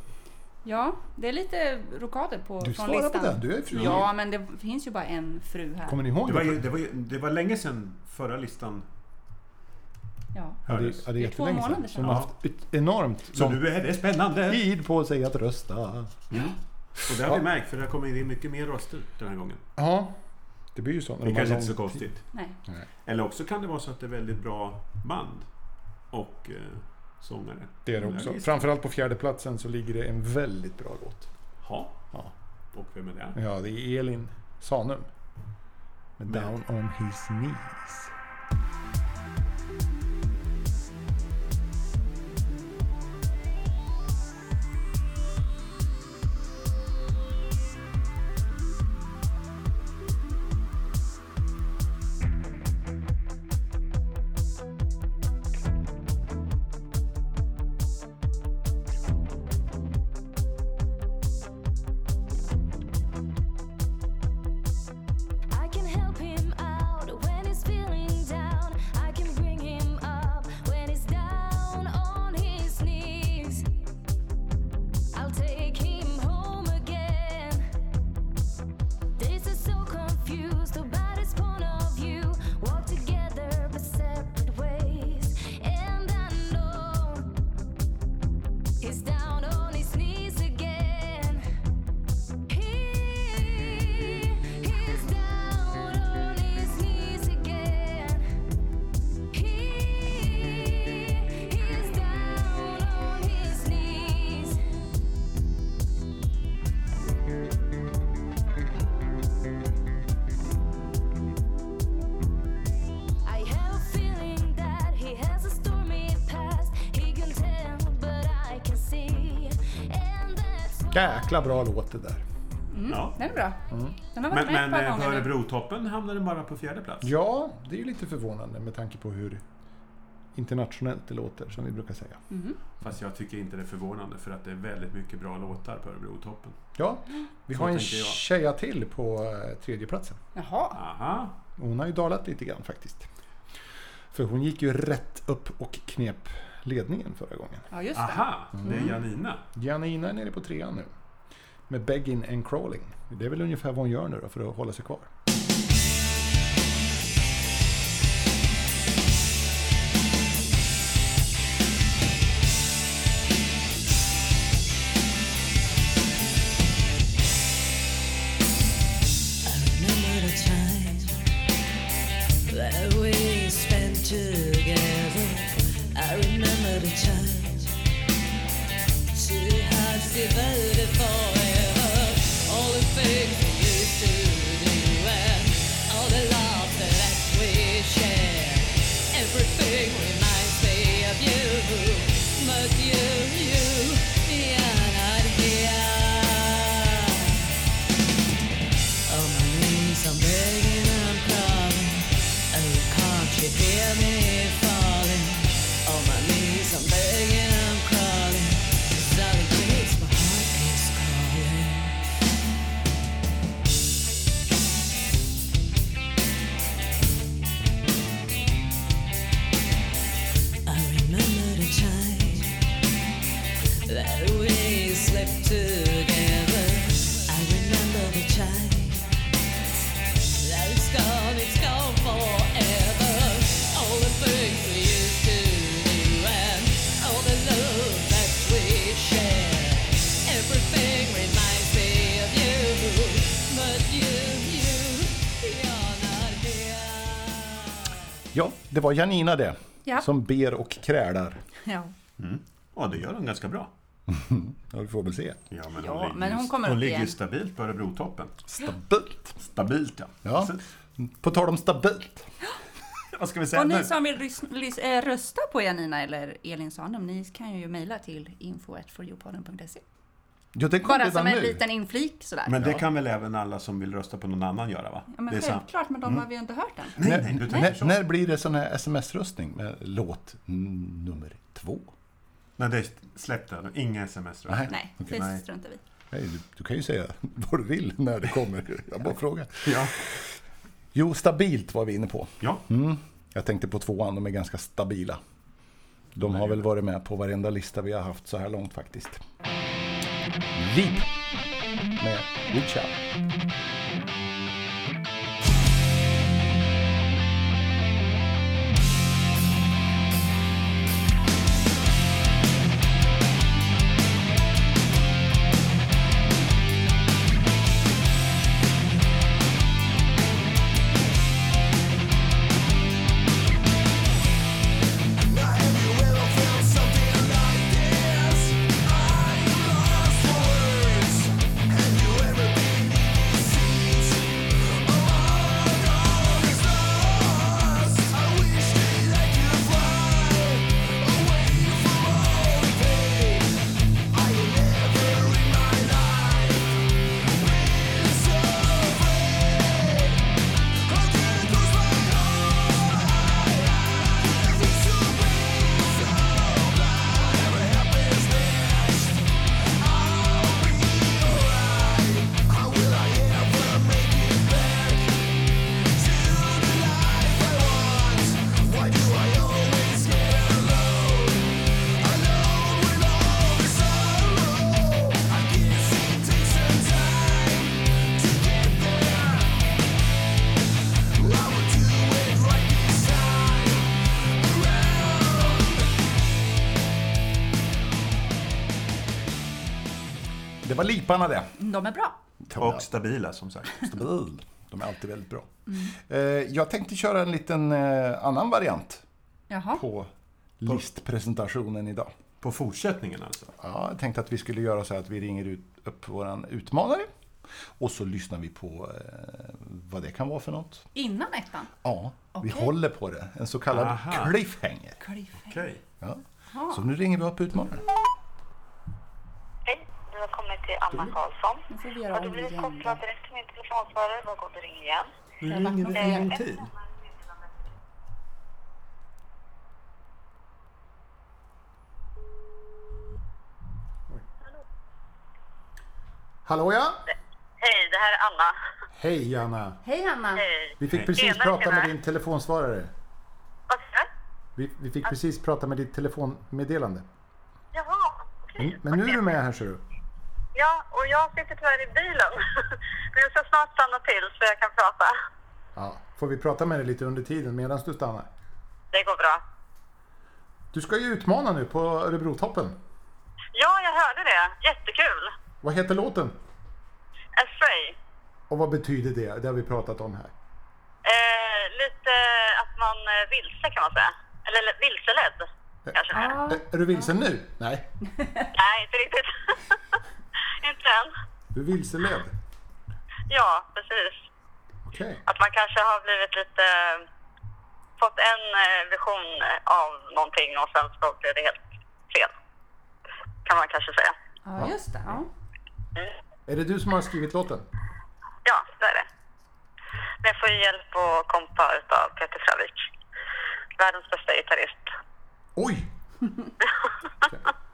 S1: Ja, det är lite rokader på,
S3: Du
S1: från
S3: svarar
S1: listan.
S3: på den, du är fru
S1: Ja, men det finns ju bara en fru här.
S3: Kommer ni ihåg
S2: Det var, ju- det, var, ju- det var länge sedan förra listan
S1: Ja.
S3: Ja, det,
S2: hördes.
S3: ja, det är
S1: Det är två
S3: jättelänge sedan. Som
S1: månader sedan.
S3: har haft ett enormt
S2: Så
S3: lång
S2: nu är det spännande!
S3: tid på sig att rösta.
S2: Och det har vi märkt, för det har kommit in mycket mer röster den här gången.
S3: Ja, det blir ju så. när
S2: Det
S3: de har
S2: kanske inte är så
S3: lång tid.
S2: konstigt.
S1: Nej.
S2: Eller också kan det vara så att det är väldigt bra band och eh, sångare.
S3: Det är det också. Framförallt på fjärdeplatsen så ligger det en väldigt bra låt.
S2: Ja.
S3: Ja.
S2: Och vem är
S1: Mm.
S2: det?
S3: Ja, det är Elin Sanum. Med
S2: Men-
S3: Down on his knees. Jäkla bra låt det där.
S1: Mm,
S2: Ja.
S1: Den är bra. Den har varit
S2: Men,
S1: med
S2: men
S1: ett par
S2: eh, på
S1: gånger nu.
S2: Örebrotoppen hamnade den bara på fjärde plats.
S3: Ja, det är ju lite förvånande med tanke på hur internationellt det låter, som vi brukar säga.
S1: Mhm.
S2: Fast jag tycker inte det är förvånande för att det är väldigt mycket bra låtar på Örebrotoppen.
S3: Ja, vi
S2: Så
S3: har en
S2: tänker jag.
S3: tjeja till på eh, tredjeplatsen.
S1: Jaha.
S2: Aha!
S3: Hon har ju dalat lite grann faktiskt. För hon gick ju rätt upp och knep ledningen förra gången.
S1: Ja, just det.
S2: Aha! Det är Janina.
S3: Janina är nere på trean nu. Med begging and crawling. Det är väl ungefär vad hon gör nu då för att hålla sig kvar.
S5: Remember the time that we spent together. I remember the time two hearts divided forever. All the things we used to do and all the love that we shared. Everything reminds me of you, but you, you, you're not here. On my knees, I'm begging and crying. Oh, can't you hear me falling? On my knees, I'm begging and crawling. Solid grace, my heart is calling. I remember the time that we slept together. I remember the time that it's gone, it's gone forever. All the things we used to do and all the love that we shared. Everything reminds me of you, but you, you, you're not here.
S3: Ja, det var Janina det.
S1: Ja.
S3: Som ber och krälar.
S1: Ja.
S2: Ja, det gör hon ganska bra.
S3: Ja, vi får väl se.
S2: Ja, men,
S1: Ja,
S2: ligger
S1: men
S2: ju-
S1: hon kommer
S2: hon
S1: upp
S2: ligger ju
S1: igen.
S2: stabilt på Örebrotoppen.
S3: Stabilt!
S2: Stabilt, ja.
S3: Ja.
S2: Så,
S3: På tal om stabilt.
S2: vad ska vi säga
S1: Och
S2: nu?
S1: ni som vill rys- lys- eh, rösta på Janina eller Elin Sandom, ni kan ju mejla till info.foryoupodden.se.
S3: Ja, det kom
S1: Bara
S3: redan
S1: som en
S3: nu.
S1: liten inflik sådär.
S2: Men det kan väl även alla som vill rösta på någon annan göra, va?
S1: ja, men
S2: det är sant.
S1: självklart,
S3: Mm.
S1: men de har vi ju inte hört än.
S2: Nej, nej, du tänker
S3: när,
S2: så.
S3: när blir det sån här sms-röstning med låt n- nummer två?
S2: Nej, det släppte den. Inga sms röster.
S3: Nej.
S1: Nej,
S3: Okej.
S1: det
S2: Nej.
S1: struntar vi i.
S3: Nej, du, du kan ju säga vad du vill när det kommer. Jag bara frågar.
S2: Ja. Mm.
S3: Jo, stabilt var vi inne på.
S2: ja.
S3: Jag tänkte på tvåan, de är ganska stabila. De har väl varit med på varenda lista vi har haft så här långt faktiskt. Leap med Reach Out. Det var Liparna det.
S1: De är bra.
S2: Och stabila, som sagt.
S3: Stabil. De är alltid väldigt bra. Eh, Jag tänkte köra en liten eh, annan variant
S1: Jaha.
S3: på listpresentationen idag.
S2: På fortsättningen alltså.
S3: Ja, jag tänkte att vi skulle göra så här att vi ringer ut, upp våran utmanare och så lyssnar vi på eh, vad det kan vara för något.
S1: Innan ettan?
S3: Ja, vi
S1: Okej.
S3: håller på det. En så kallad
S2: Aha.
S3: cliffhanger.
S1: Cliffhanger.
S2: Okej.
S3: Ja.
S1: Jaha.
S3: Så nu ringer vi upp utmanaren.
S6: Hej, du har kommit till till Anna Karlsson.
S1: Nu får vi göra
S6: Har du
S1: om
S6: blivit
S1: igen.
S6: kopplad direkt till min telefonsvarare? Var god du ringer igen.
S1: Jag
S3: Nu
S1: har
S3: ringer
S1: varit
S3: vi
S1: med
S3: en gång
S1: om
S3: till. Hallå ja!
S6: Hej, det här är Anna.
S3: Hej Anna!
S1: Hej Hanna!
S6: Hej.
S3: Vi fick
S2: Hej.
S3: precis
S6: Tjena,
S3: prata med
S6: tjena.
S3: din telefonsvarare.
S6: Vad sa du?
S3: Vi, vi fick precis prata med ditt telefonmeddelande.
S6: Jaha, okej.
S1: Mm,
S3: Men- Men nu är du med här ser du.
S6: Ja, och jag sitter tyvärr i bilen. Men jag ska snart stanna till så jag kan prata.
S3: Ja, får vi prata med dig lite under tiden medan du stannar?
S6: Det går bra.
S3: Du ska ju utmana nu på Örebrotoppen.
S6: Ja, jag hörde det. Jättekul.
S3: Vad heter låten?
S6: Astray.
S3: Och vad betyder det? Det har vi pratat om här.
S6: Eh, lite att man eh, vilse kan man säga. Eller le- vilseledd kanske det är.
S1: Ja,
S3: Ä- Är du vilsen nu? Nej.
S6: Nej, inte riktigt. inte än.
S3: Du är vilseledd?
S6: Ja, precis.
S3: Okej.
S6: Att man kanske har blivit lite... eh, Fått en eh, vision av någonting och sen så blev det helt fel. Kan man kanske säga. Mm.
S1: ja just det. Ja.
S3: Är det du som har skrivit låten?
S6: Ja, det är det. Men jag får ju hjälp och kompa utav Peter Frövik. Världens bästa gitarrist.
S3: Oj!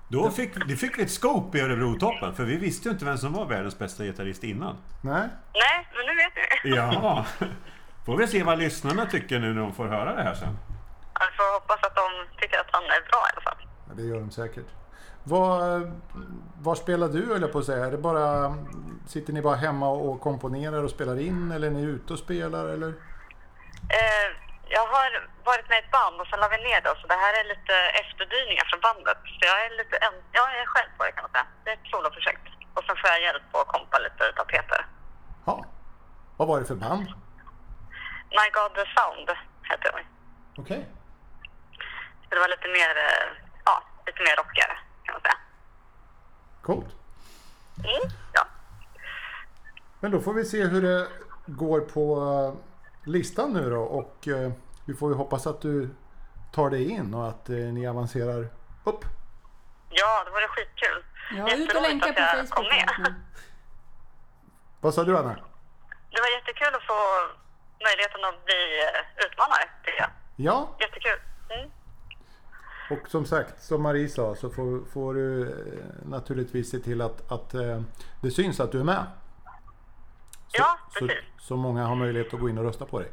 S2: Då fick, det fick vi ett scope i Örebrotoppen, för vi visste ju inte vem som var världens bästa gitarrist innan.
S3: Nej.
S6: Nej, men nu vet ni.
S2: Ja. Får vi se vad lyssnarna tycker nu när de får höra det här sen.
S6: Jag får hoppas att de tycker att han är bra i alla fall.
S3: Ja, det gör de säkert. Var, var spelar du höll jag på att säga? Är det bara, sitter ni bara hemma och komponerar och spelar in eller är ni ute och spelar? Eller?
S6: Eh, jag har varit med i ett band och sen la vi ner det. Så det här är lite efterdyningar från bandet. Så jag är lite en, ja, jag är själv på det kan man säga. Det är ett soloprojekt. Och sen får jag hjälp och kompa lite utav Peter.
S3: Ja. Vad var det för band?
S6: My God The Sound heter det.
S3: Okej.
S6: Så det var lite mer, eh, ja, lite mer rockigare kan man säga.
S3: Coolt.
S6: Mm, ja.
S3: Men då får vi se hur det går på eh, listan nu då och eh, vi får ju hoppas att du tar dig in och att eh, ni avancerar upp.
S6: Ja, det vore skitkul.
S1: Ja, ut och
S6: Jätteroligt
S1: länka
S6: att
S1: på
S6: jag
S1: Facebook.
S6: kom med.
S1: just nu.
S3: Vad sa du Anna?
S6: Det var jättekul att få möjligheten att bli eh, utmanare, tycker jag.
S3: Ja,
S6: Jättekul. Mm.
S3: och som sagt som Marie sa så får, får du eh, naturligtvis se till att, att eh, det syns att du är med. Så,
S6: Ja,
S3: så,
S6: precis.
S3: så många har möjlighet att gå in och rösta på dig.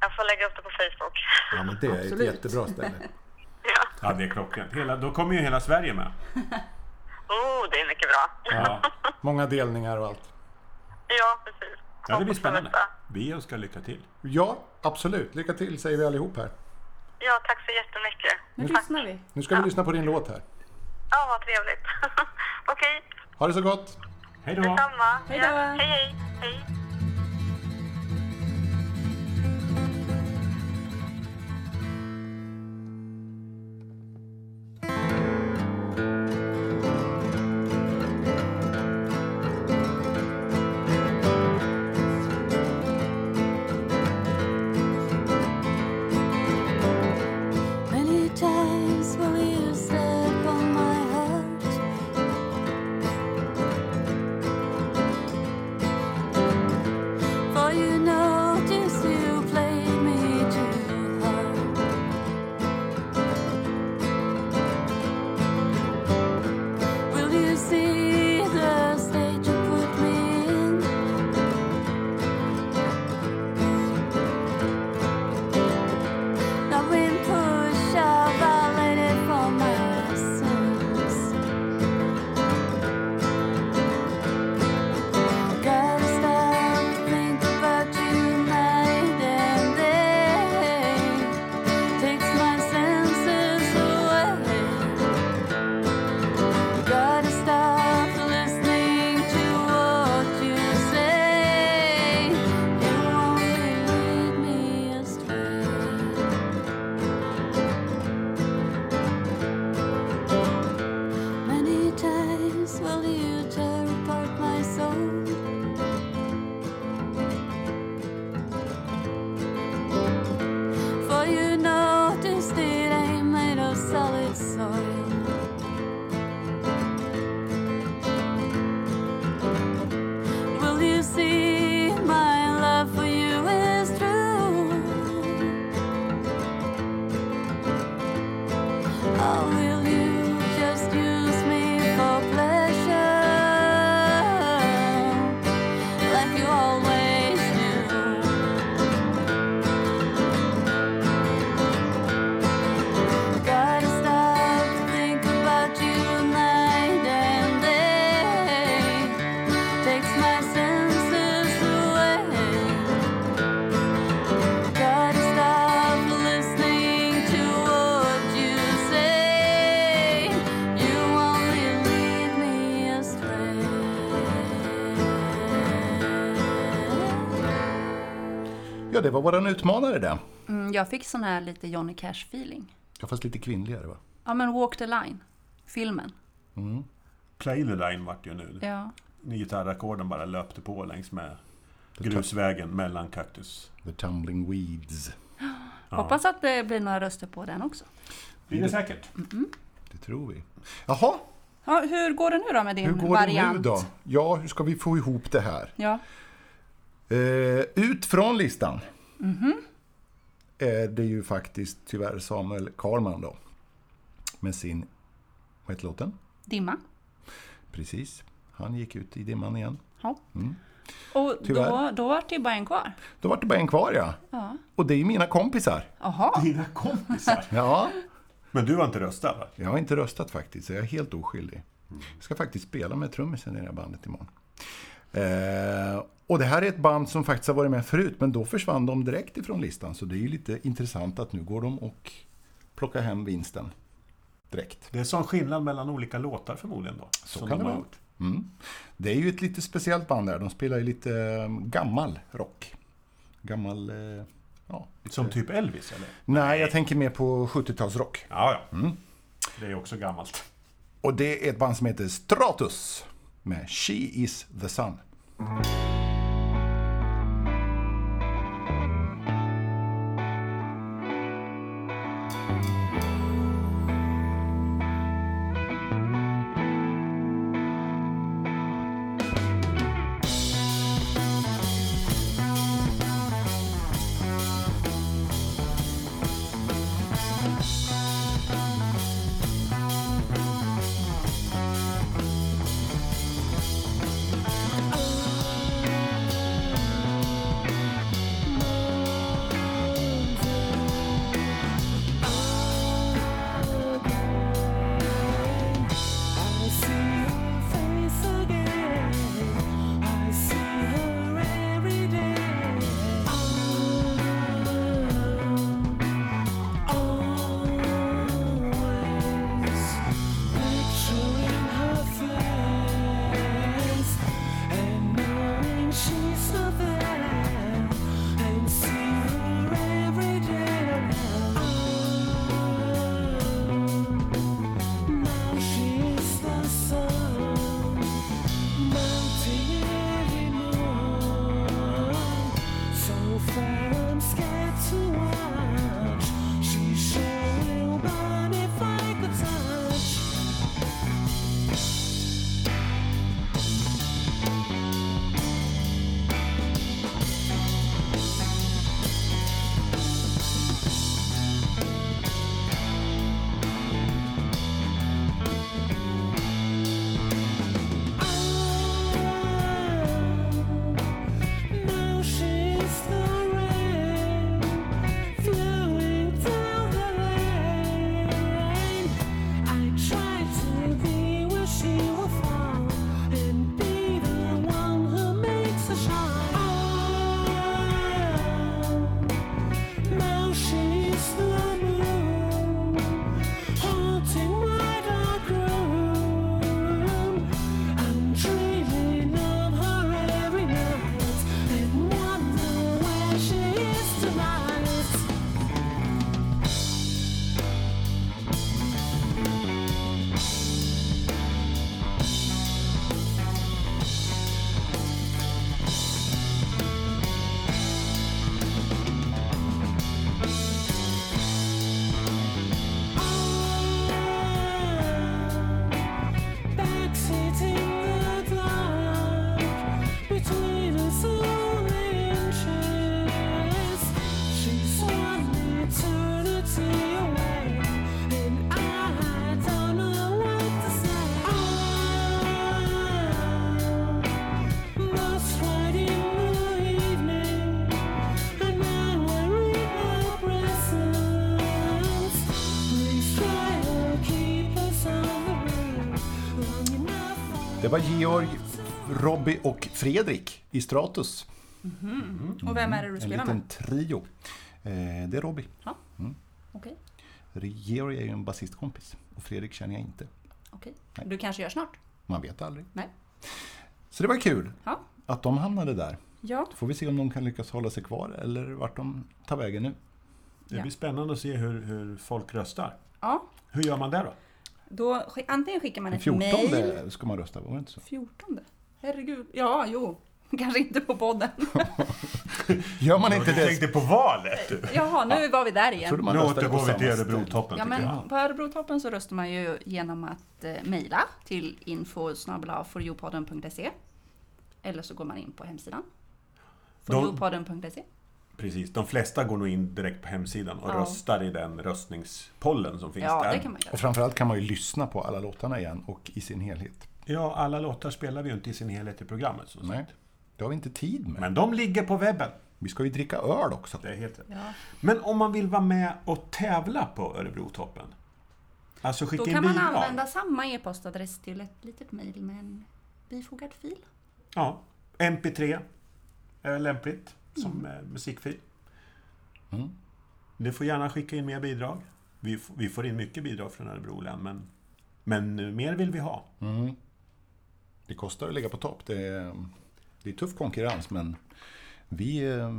S6: Jag får lägga upp det på Facebook.
S3: Ja, men det är
S1: Absolut.
S3: ett jättebra ställe.
S6: Ja.
S2: Ja, det är klockrent. Hela, då kommer ju hela Sverige med.
S6: Oh, det är mycket bra.
S2: Ja.
S3: Många delningar och allt.
S6: Ja, precis.
S2: ja, det blir
S6: Hoppas på
S2: spännande.
S6: detta.
S2: Vi önskar lycka till.
S3: Ja, absolut. Lycka till säger vi allihop här.
S6: Ja, tack så jättemycket.
S1: Nu lyssnar vi.
S3: Nu ska vi lyssna på din låt här.
S6: Ja, vad trevligt. Okej,
S3: Ha det så gott!
S2: Hej då!
S6: detsamma.
S1: Hej då.
S6: Ja, hej, hej. hej.
S7: Many times will you step on my heart?
S3: Ja, det var våran utmanare det.
S1: Mm, jag fick sån här lite Johnny Cash-feeling.
S3: Ja, fast lite kvinnligare va?
S1: Ja, men Walk the Line, filmen.
S2: Play the line vart ju nu.
S1: Ja.
S2: Gitarrackorden bara löpte på längs med grusvägen mellan kaktus.
S3: The tumbling weeds.
S1: Hoppas att det blir några röster på den också.
S2: Blir det säkert.
S3: Det tror vi. Jaha,
S1: Ja, hur går det nu då med din
S3: hur går
S1: variant?
S3: det nu då? Ja, hur ska vi få ihop det här?
S1: Ja.
S3: Eh, ut från listan. Är det ju faktiskt tyvärr Samuel Karlman då. Med sin, vad heter låten?
S1: Dimma.
S3: Precis, han gick ut i dimman igen.
S1: Ja. Och då,
S3: Tyvärr.
S1: då var det ju bara en kvar.
S3: Då var det bara en kvar ja.
S1: Ja.
S3: Och det är ju mina kompisar.
S1: Jaha.
S2: Dina kompisar.
S3: Ja,
S2: Men du har inte röstat va?
S3: jag har inte röstat faktiskt, så jag är helt oskyldig. Jag ska faktiskt spela med trummisen i det här bandet imorgon. Eh, och det här är ett band som faktiskt har varit med förut, men då försvann de direkt ifrån listan. Så det är ju lite intressant att nu går de och plockar hem vinsten direkt.
S2: Det är sån skillnad mellan olika låtar förmodligen då.
S3: Så
S2: som
S3: kan
S2: de
S3: det
S2: har
S3: vara. Mm. Det är ju ett lite speciellt band där, de spelar ju lite eh, gammal rock. Gammal, eh, ja. lite-
S2: Som typ Elvis eller?
S3: Nej, jag tänker mer på 70-talsrock.
S2: Ja, ja.
S3: Mm.
S2: Det är också gammalt.
S3: Och det är ett band som heter Stratus med She is the sun.
S8: I see her face again. I see her every day. Always picturing her face and knowing she's not there. And see her every day. Now she's the sun, melting every morn. So far I'm scared to watch. She sure will burn if I could touch. Now she's the rain flowing down the lane. I try to be where she will fall and be the one who makes her shine. Oh, Now she's the moon, haunting my dark room. I'm dreaming of her every night and wonder where she is tonight. Evening. And I worry her presence. Please try to keep us on the road long enough for
S3: Det var Georg, Robbie och Fredrik i Stratus.
S1: Och vem är det du
S3: En
S1: spelar med?
S3: liten trio. Eh, det är Robbie.
S1: Ja. Okej.
S3: Georg är ju en basistkompis och Fredrik känner jag inte.
S1: okej. Du kanske gör snart?
S3: Man vet aldrig.
S1: Nej.
S3: Så det var kul
S1: Ja.
S3: att de hamnade där.
S1: Ja.
S3: Då får vi se om de kan lyckas hålla sig kvar eller vart de tar vägen nu.
S2: Det
S1: Ja.
S2: blir spännande att se hur, hur folk röstar.
S1: ja.
S2: Hur gör man det då?
S1: Då, sk- antingen skickar man
S3: Den
S1: ett mejl.
S3: 14 ska man rösta, var det inte så?
S1: 14? Herregud. Ja, jo. Kanske inte på podden.
S3: Gör man inte
S2: Du
S3: det...
S2: tänkte på valet du!
S1: Jaha, nu var vi där
S3: Jag trodde
S1: igen.
S3: man
S2: Nu
S3: röstade på
S2: återgår vi
S3: samma
S2: till
S3: ställe.
S2: Örebrotoppen
S1: Ja,
S2: tycker jag.
S1: men på Örebrotoppen så röstar man ju genom att eh, mejla till info foryoupodden.se Eller så går man in på hemsidan.
S2: De-
S1: foryoupodden.se
S2: Precis, de flesta går nog in direkt på hemsidan och
S1: Ja.
S2: röstar i den röstningspollen som finns
S1: Ja,
S2: där.
S1: det kan man göra.
S3: Och framförallt kan man ju lyssna på alla låtarna igen och i sin helhet.
S2: Ja, alla låtar spelar vi ju inte i sin helhet i programmet. Som
S3: Nej,
S2: sagt.
S3: det har vi inte tid med.
S2: Men de ligger på webben.
S3: Vi ska ju dricka öl också.
S2: Det är helt rätt.
S1: Ja.
S2: Men om man vill vara med och tävla på Örebrotoppen? Alltså skicka
S1: Då
S2: in
S1: kan man
S2: bidrag.
S1: använda samma e-postadress till ett litet mejl med en bifogad fil.
S2: Ja, MP3 är lämpligt
S1: Mm.
S2: som eh, musikfil. Du får gärna skicka in mer bidrag. Vi, f- vi får in mycket bidrag från Örebro län, men, men eh, mer vill vi ha.
S3: Det kostar att ligga på topp. Det är, det är tuff konkurrens, men vi, eh,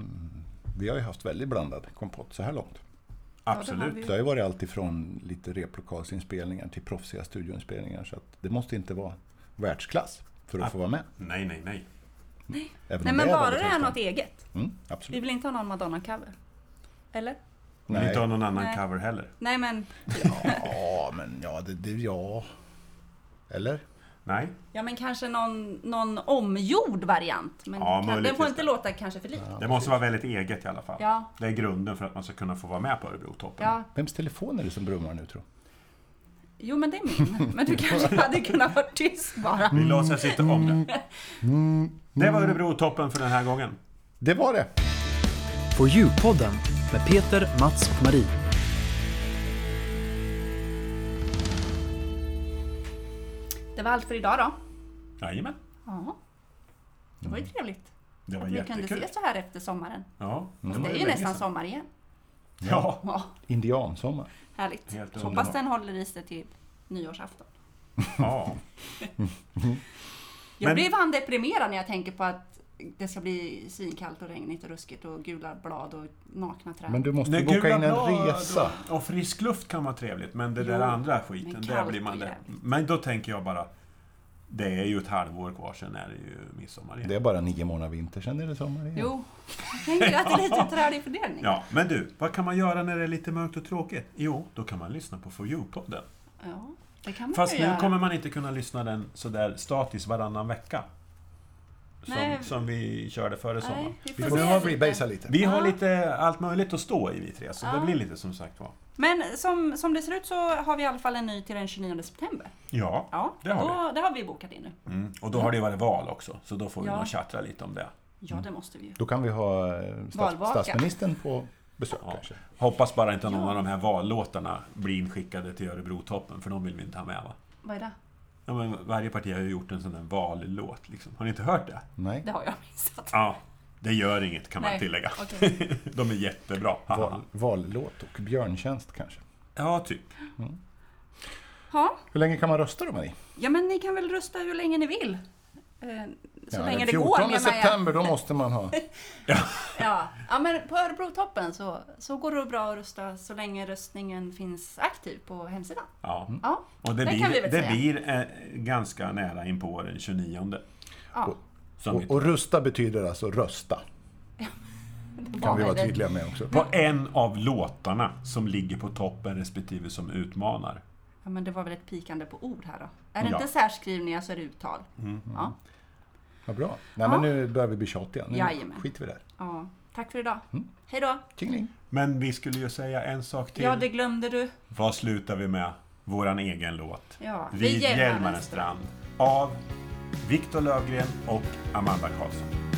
S3: vi har ju haft väldigt blandad kompott så här långt.
S1: Mm. Ja,
S2: Absolut.
S1: det har vi
S3: Det
S1: ju.
S3: har ju varit allt ifrån lite replokalsinspelningar till proffsiga studioinspelningar. Så att det måste inte vara världsklass för att få vara med.
S2: Nej, nej, nej.
S3: Även
S1: Nej
S3: om
S1: men
S3: det är
S1: bara det
S3: väldigt
S1: är
S3: högt.
S1: något eget.
S3: Mm,
S1: Vi
S3: absolut.
S1: vill inte ha någon Madonna-cover. Eller?
S2: Vi vill
S3: Nej.
S2: inte ha någon annan
S1: Nej.
S2: cover heller.
S1: Nej men,
S3: Ja, men ja, det, det ja. Eller?
S2: Nej.
S1: ja, men kanske någon, någon omgjord variant. Men
S2: Ja,
S1: kan, den
S2: möjligtvis
S1: får inte
S2: det.
S1: låta kanske för lik.
S2: Det måste vara väldigt eget i alla fall.
S1: Ja.
S2: Det är grunden för att man ska kunna få vara med på Örebrotoppen.
S1: Ja,
S3: Vems telefon är det som brummar nu tror
S1: jo men det är min. Men du kanske hade kunnat vara tyst bara.
S2: Vi låtsas inte om
S1: Mm.
S2: det. Det var Örebrotoppen för den här gången.
S3: Det var det!
S4: På Djurpodden med Peter, Mats och Marie.
S1: Det var allt för idag då.
S2: Jajamän.
S1: Ja. Det var ju trevligt.
S2: Mm. Det var
S1: Att vi kunde
S2: jättekul.
S1: ses så här efter sommaren.
S2: Ja, det,
S1: Det
S2: var
S1: är ju
S2: länge
S1: nästan
S2: sedan.
S1: sommar igen.
S2: Ja.
S1: Ja,
S3: Indiansommar.
S1: härligt.
S2: Helt
S1: Hoppas
S2: underbart.
S1: den håller i sig till nyårsafton.
S2: ja.
S1: Jag
S2: Men-
S1: blir fan deprimerad när jag tänker på att det ska bli svinkallt och regnigt och ruskigt och gula blad och nakna träd.
S3: Men du måste
S2: Nej,
S3: ju boka
S2: gula
S3: in en
S2: blad
S3: resa.
S2: Och, och frisk luft kan vara trevligt, men det där
S1: Jo,
S2: andra skiten,
S1: men
S2: där
S1: kallt
S2: blir man
S1: och
S2: det.
S1: jävligt.
S2: Men då tänker jag bara, det är ju ett halvår kvar, sen är det ju midsommar igen.
S3: Det är bara nio månader vinter, sen är det sommar igen.
S1: Jo, jag tänker att det är lite trälig fördelning.
S2: Ja, men du, vad kan man göra när det är lite mörkt och tråkigt? Jo, då kan man lyssna på For You-podden.
S1: Ja, det kan man
S2: Fast
S1: ju
S2: nu
S1: göra.
S2: kommer man inte kunna lyssna den sådär statiskt varannan vecka. Som,
S1: Nej.
S2: som vi körde före sommaren.
S1: Nej, vi
S2: Vi,
S1: får
S3: För nu
S1: se.
S2: har,
S3: har vi basat lite.
S2: vi har
S1: Ja.
S2: lite allt möjligt att stå i vi tre, så
S1: Ja.
S2: det blir lite som sagt var.
S1: Men som, som det ser ut så har vi i alla fall en ny till den 29 september.
S2: Ja,
S1: Ja,
S2: det har vi.
S1: då, det har vi bokat in nu.
S2: Mm. Och då har det ju varit val också, så då får vi
S1: Ja.
S2: nog tjattra lite om det.
S1: Ja, det måste vi ju.
S3: Då kan vi ha eh, stats-
S1: Valvaka.
S3: statsministern på besök
S2: Ja.
S3: kanske.
S2: Hoppas bara inte någon av de här vallåtarna blir inskickade till Örebrotoppen, för de vill vi inte ha med va?
S1: Vad är det?
S2: Ja, men varje parti har ju gjort en sån där vallåt liksom. Har ni inte hört det?
S3: Nej.
S1: Det har jag missat.
S2: Ja, det gör inget kan man
S1: Nej,
S2: tillägga.
S1: okej.
S2: De är jättebra.
S3: Val, vallåt och björntjänst kanske.
S2: Ja, typ.
S1: Ja.
S3: Hur länge kan man rösta då Marie?
S1: ja, men ni kan väl rösta hur länge ni vill. Eh, Så
S3: Ja,
S1: länge
S3: den
S1: det går
S3: 14
S1: menar jag.
S3: september, då måste man ha.
S1: Ja, ja men på Örebrotoppen så, så går det bra att rösta så länge röstningen finns aktiv på hemsidan.
S2: Ja.
S1: Ja,
S2: Och det
S1: den kan vi
S2: blir,
S1: väl
S2: det
S1: säga.
S2: blir eh, ganska nära in på den 29.
S1: ja.
S2: Som vi-
S3: Och, och rösta betyder alltså rösta.
S1: det
S3: Kan vi
S1: var
S3: vara
S1: väl-
S3: tydliga med också.
S2: På en av låtarna som ligger på toppen respektive som utmanar.
S1: Ja, men det var väl ett pikande på ord här då. Är det
S2: Mm. Ja. Mm.
S1: inte särskrivningar så är det uttal. Ja.
S3: Vad bra. Nej men nu börjar vi bli tjatiga. Nu
S1: Jajamän.
S3: skiter vi där.
S1: ja. Tack för idag. Hej då.
S3: Tingling.
S2: Men vi skulle ju säga en sak till.
S1: Ja, det glömde du.
S2: Vad slutar vi med? Våran egen låt.
S1: Ja,
S2: Vid
S1: vid Hjälmarens
S2: Hjälmarens strand. Av Viktor Lövgren och Amanda Karlsson.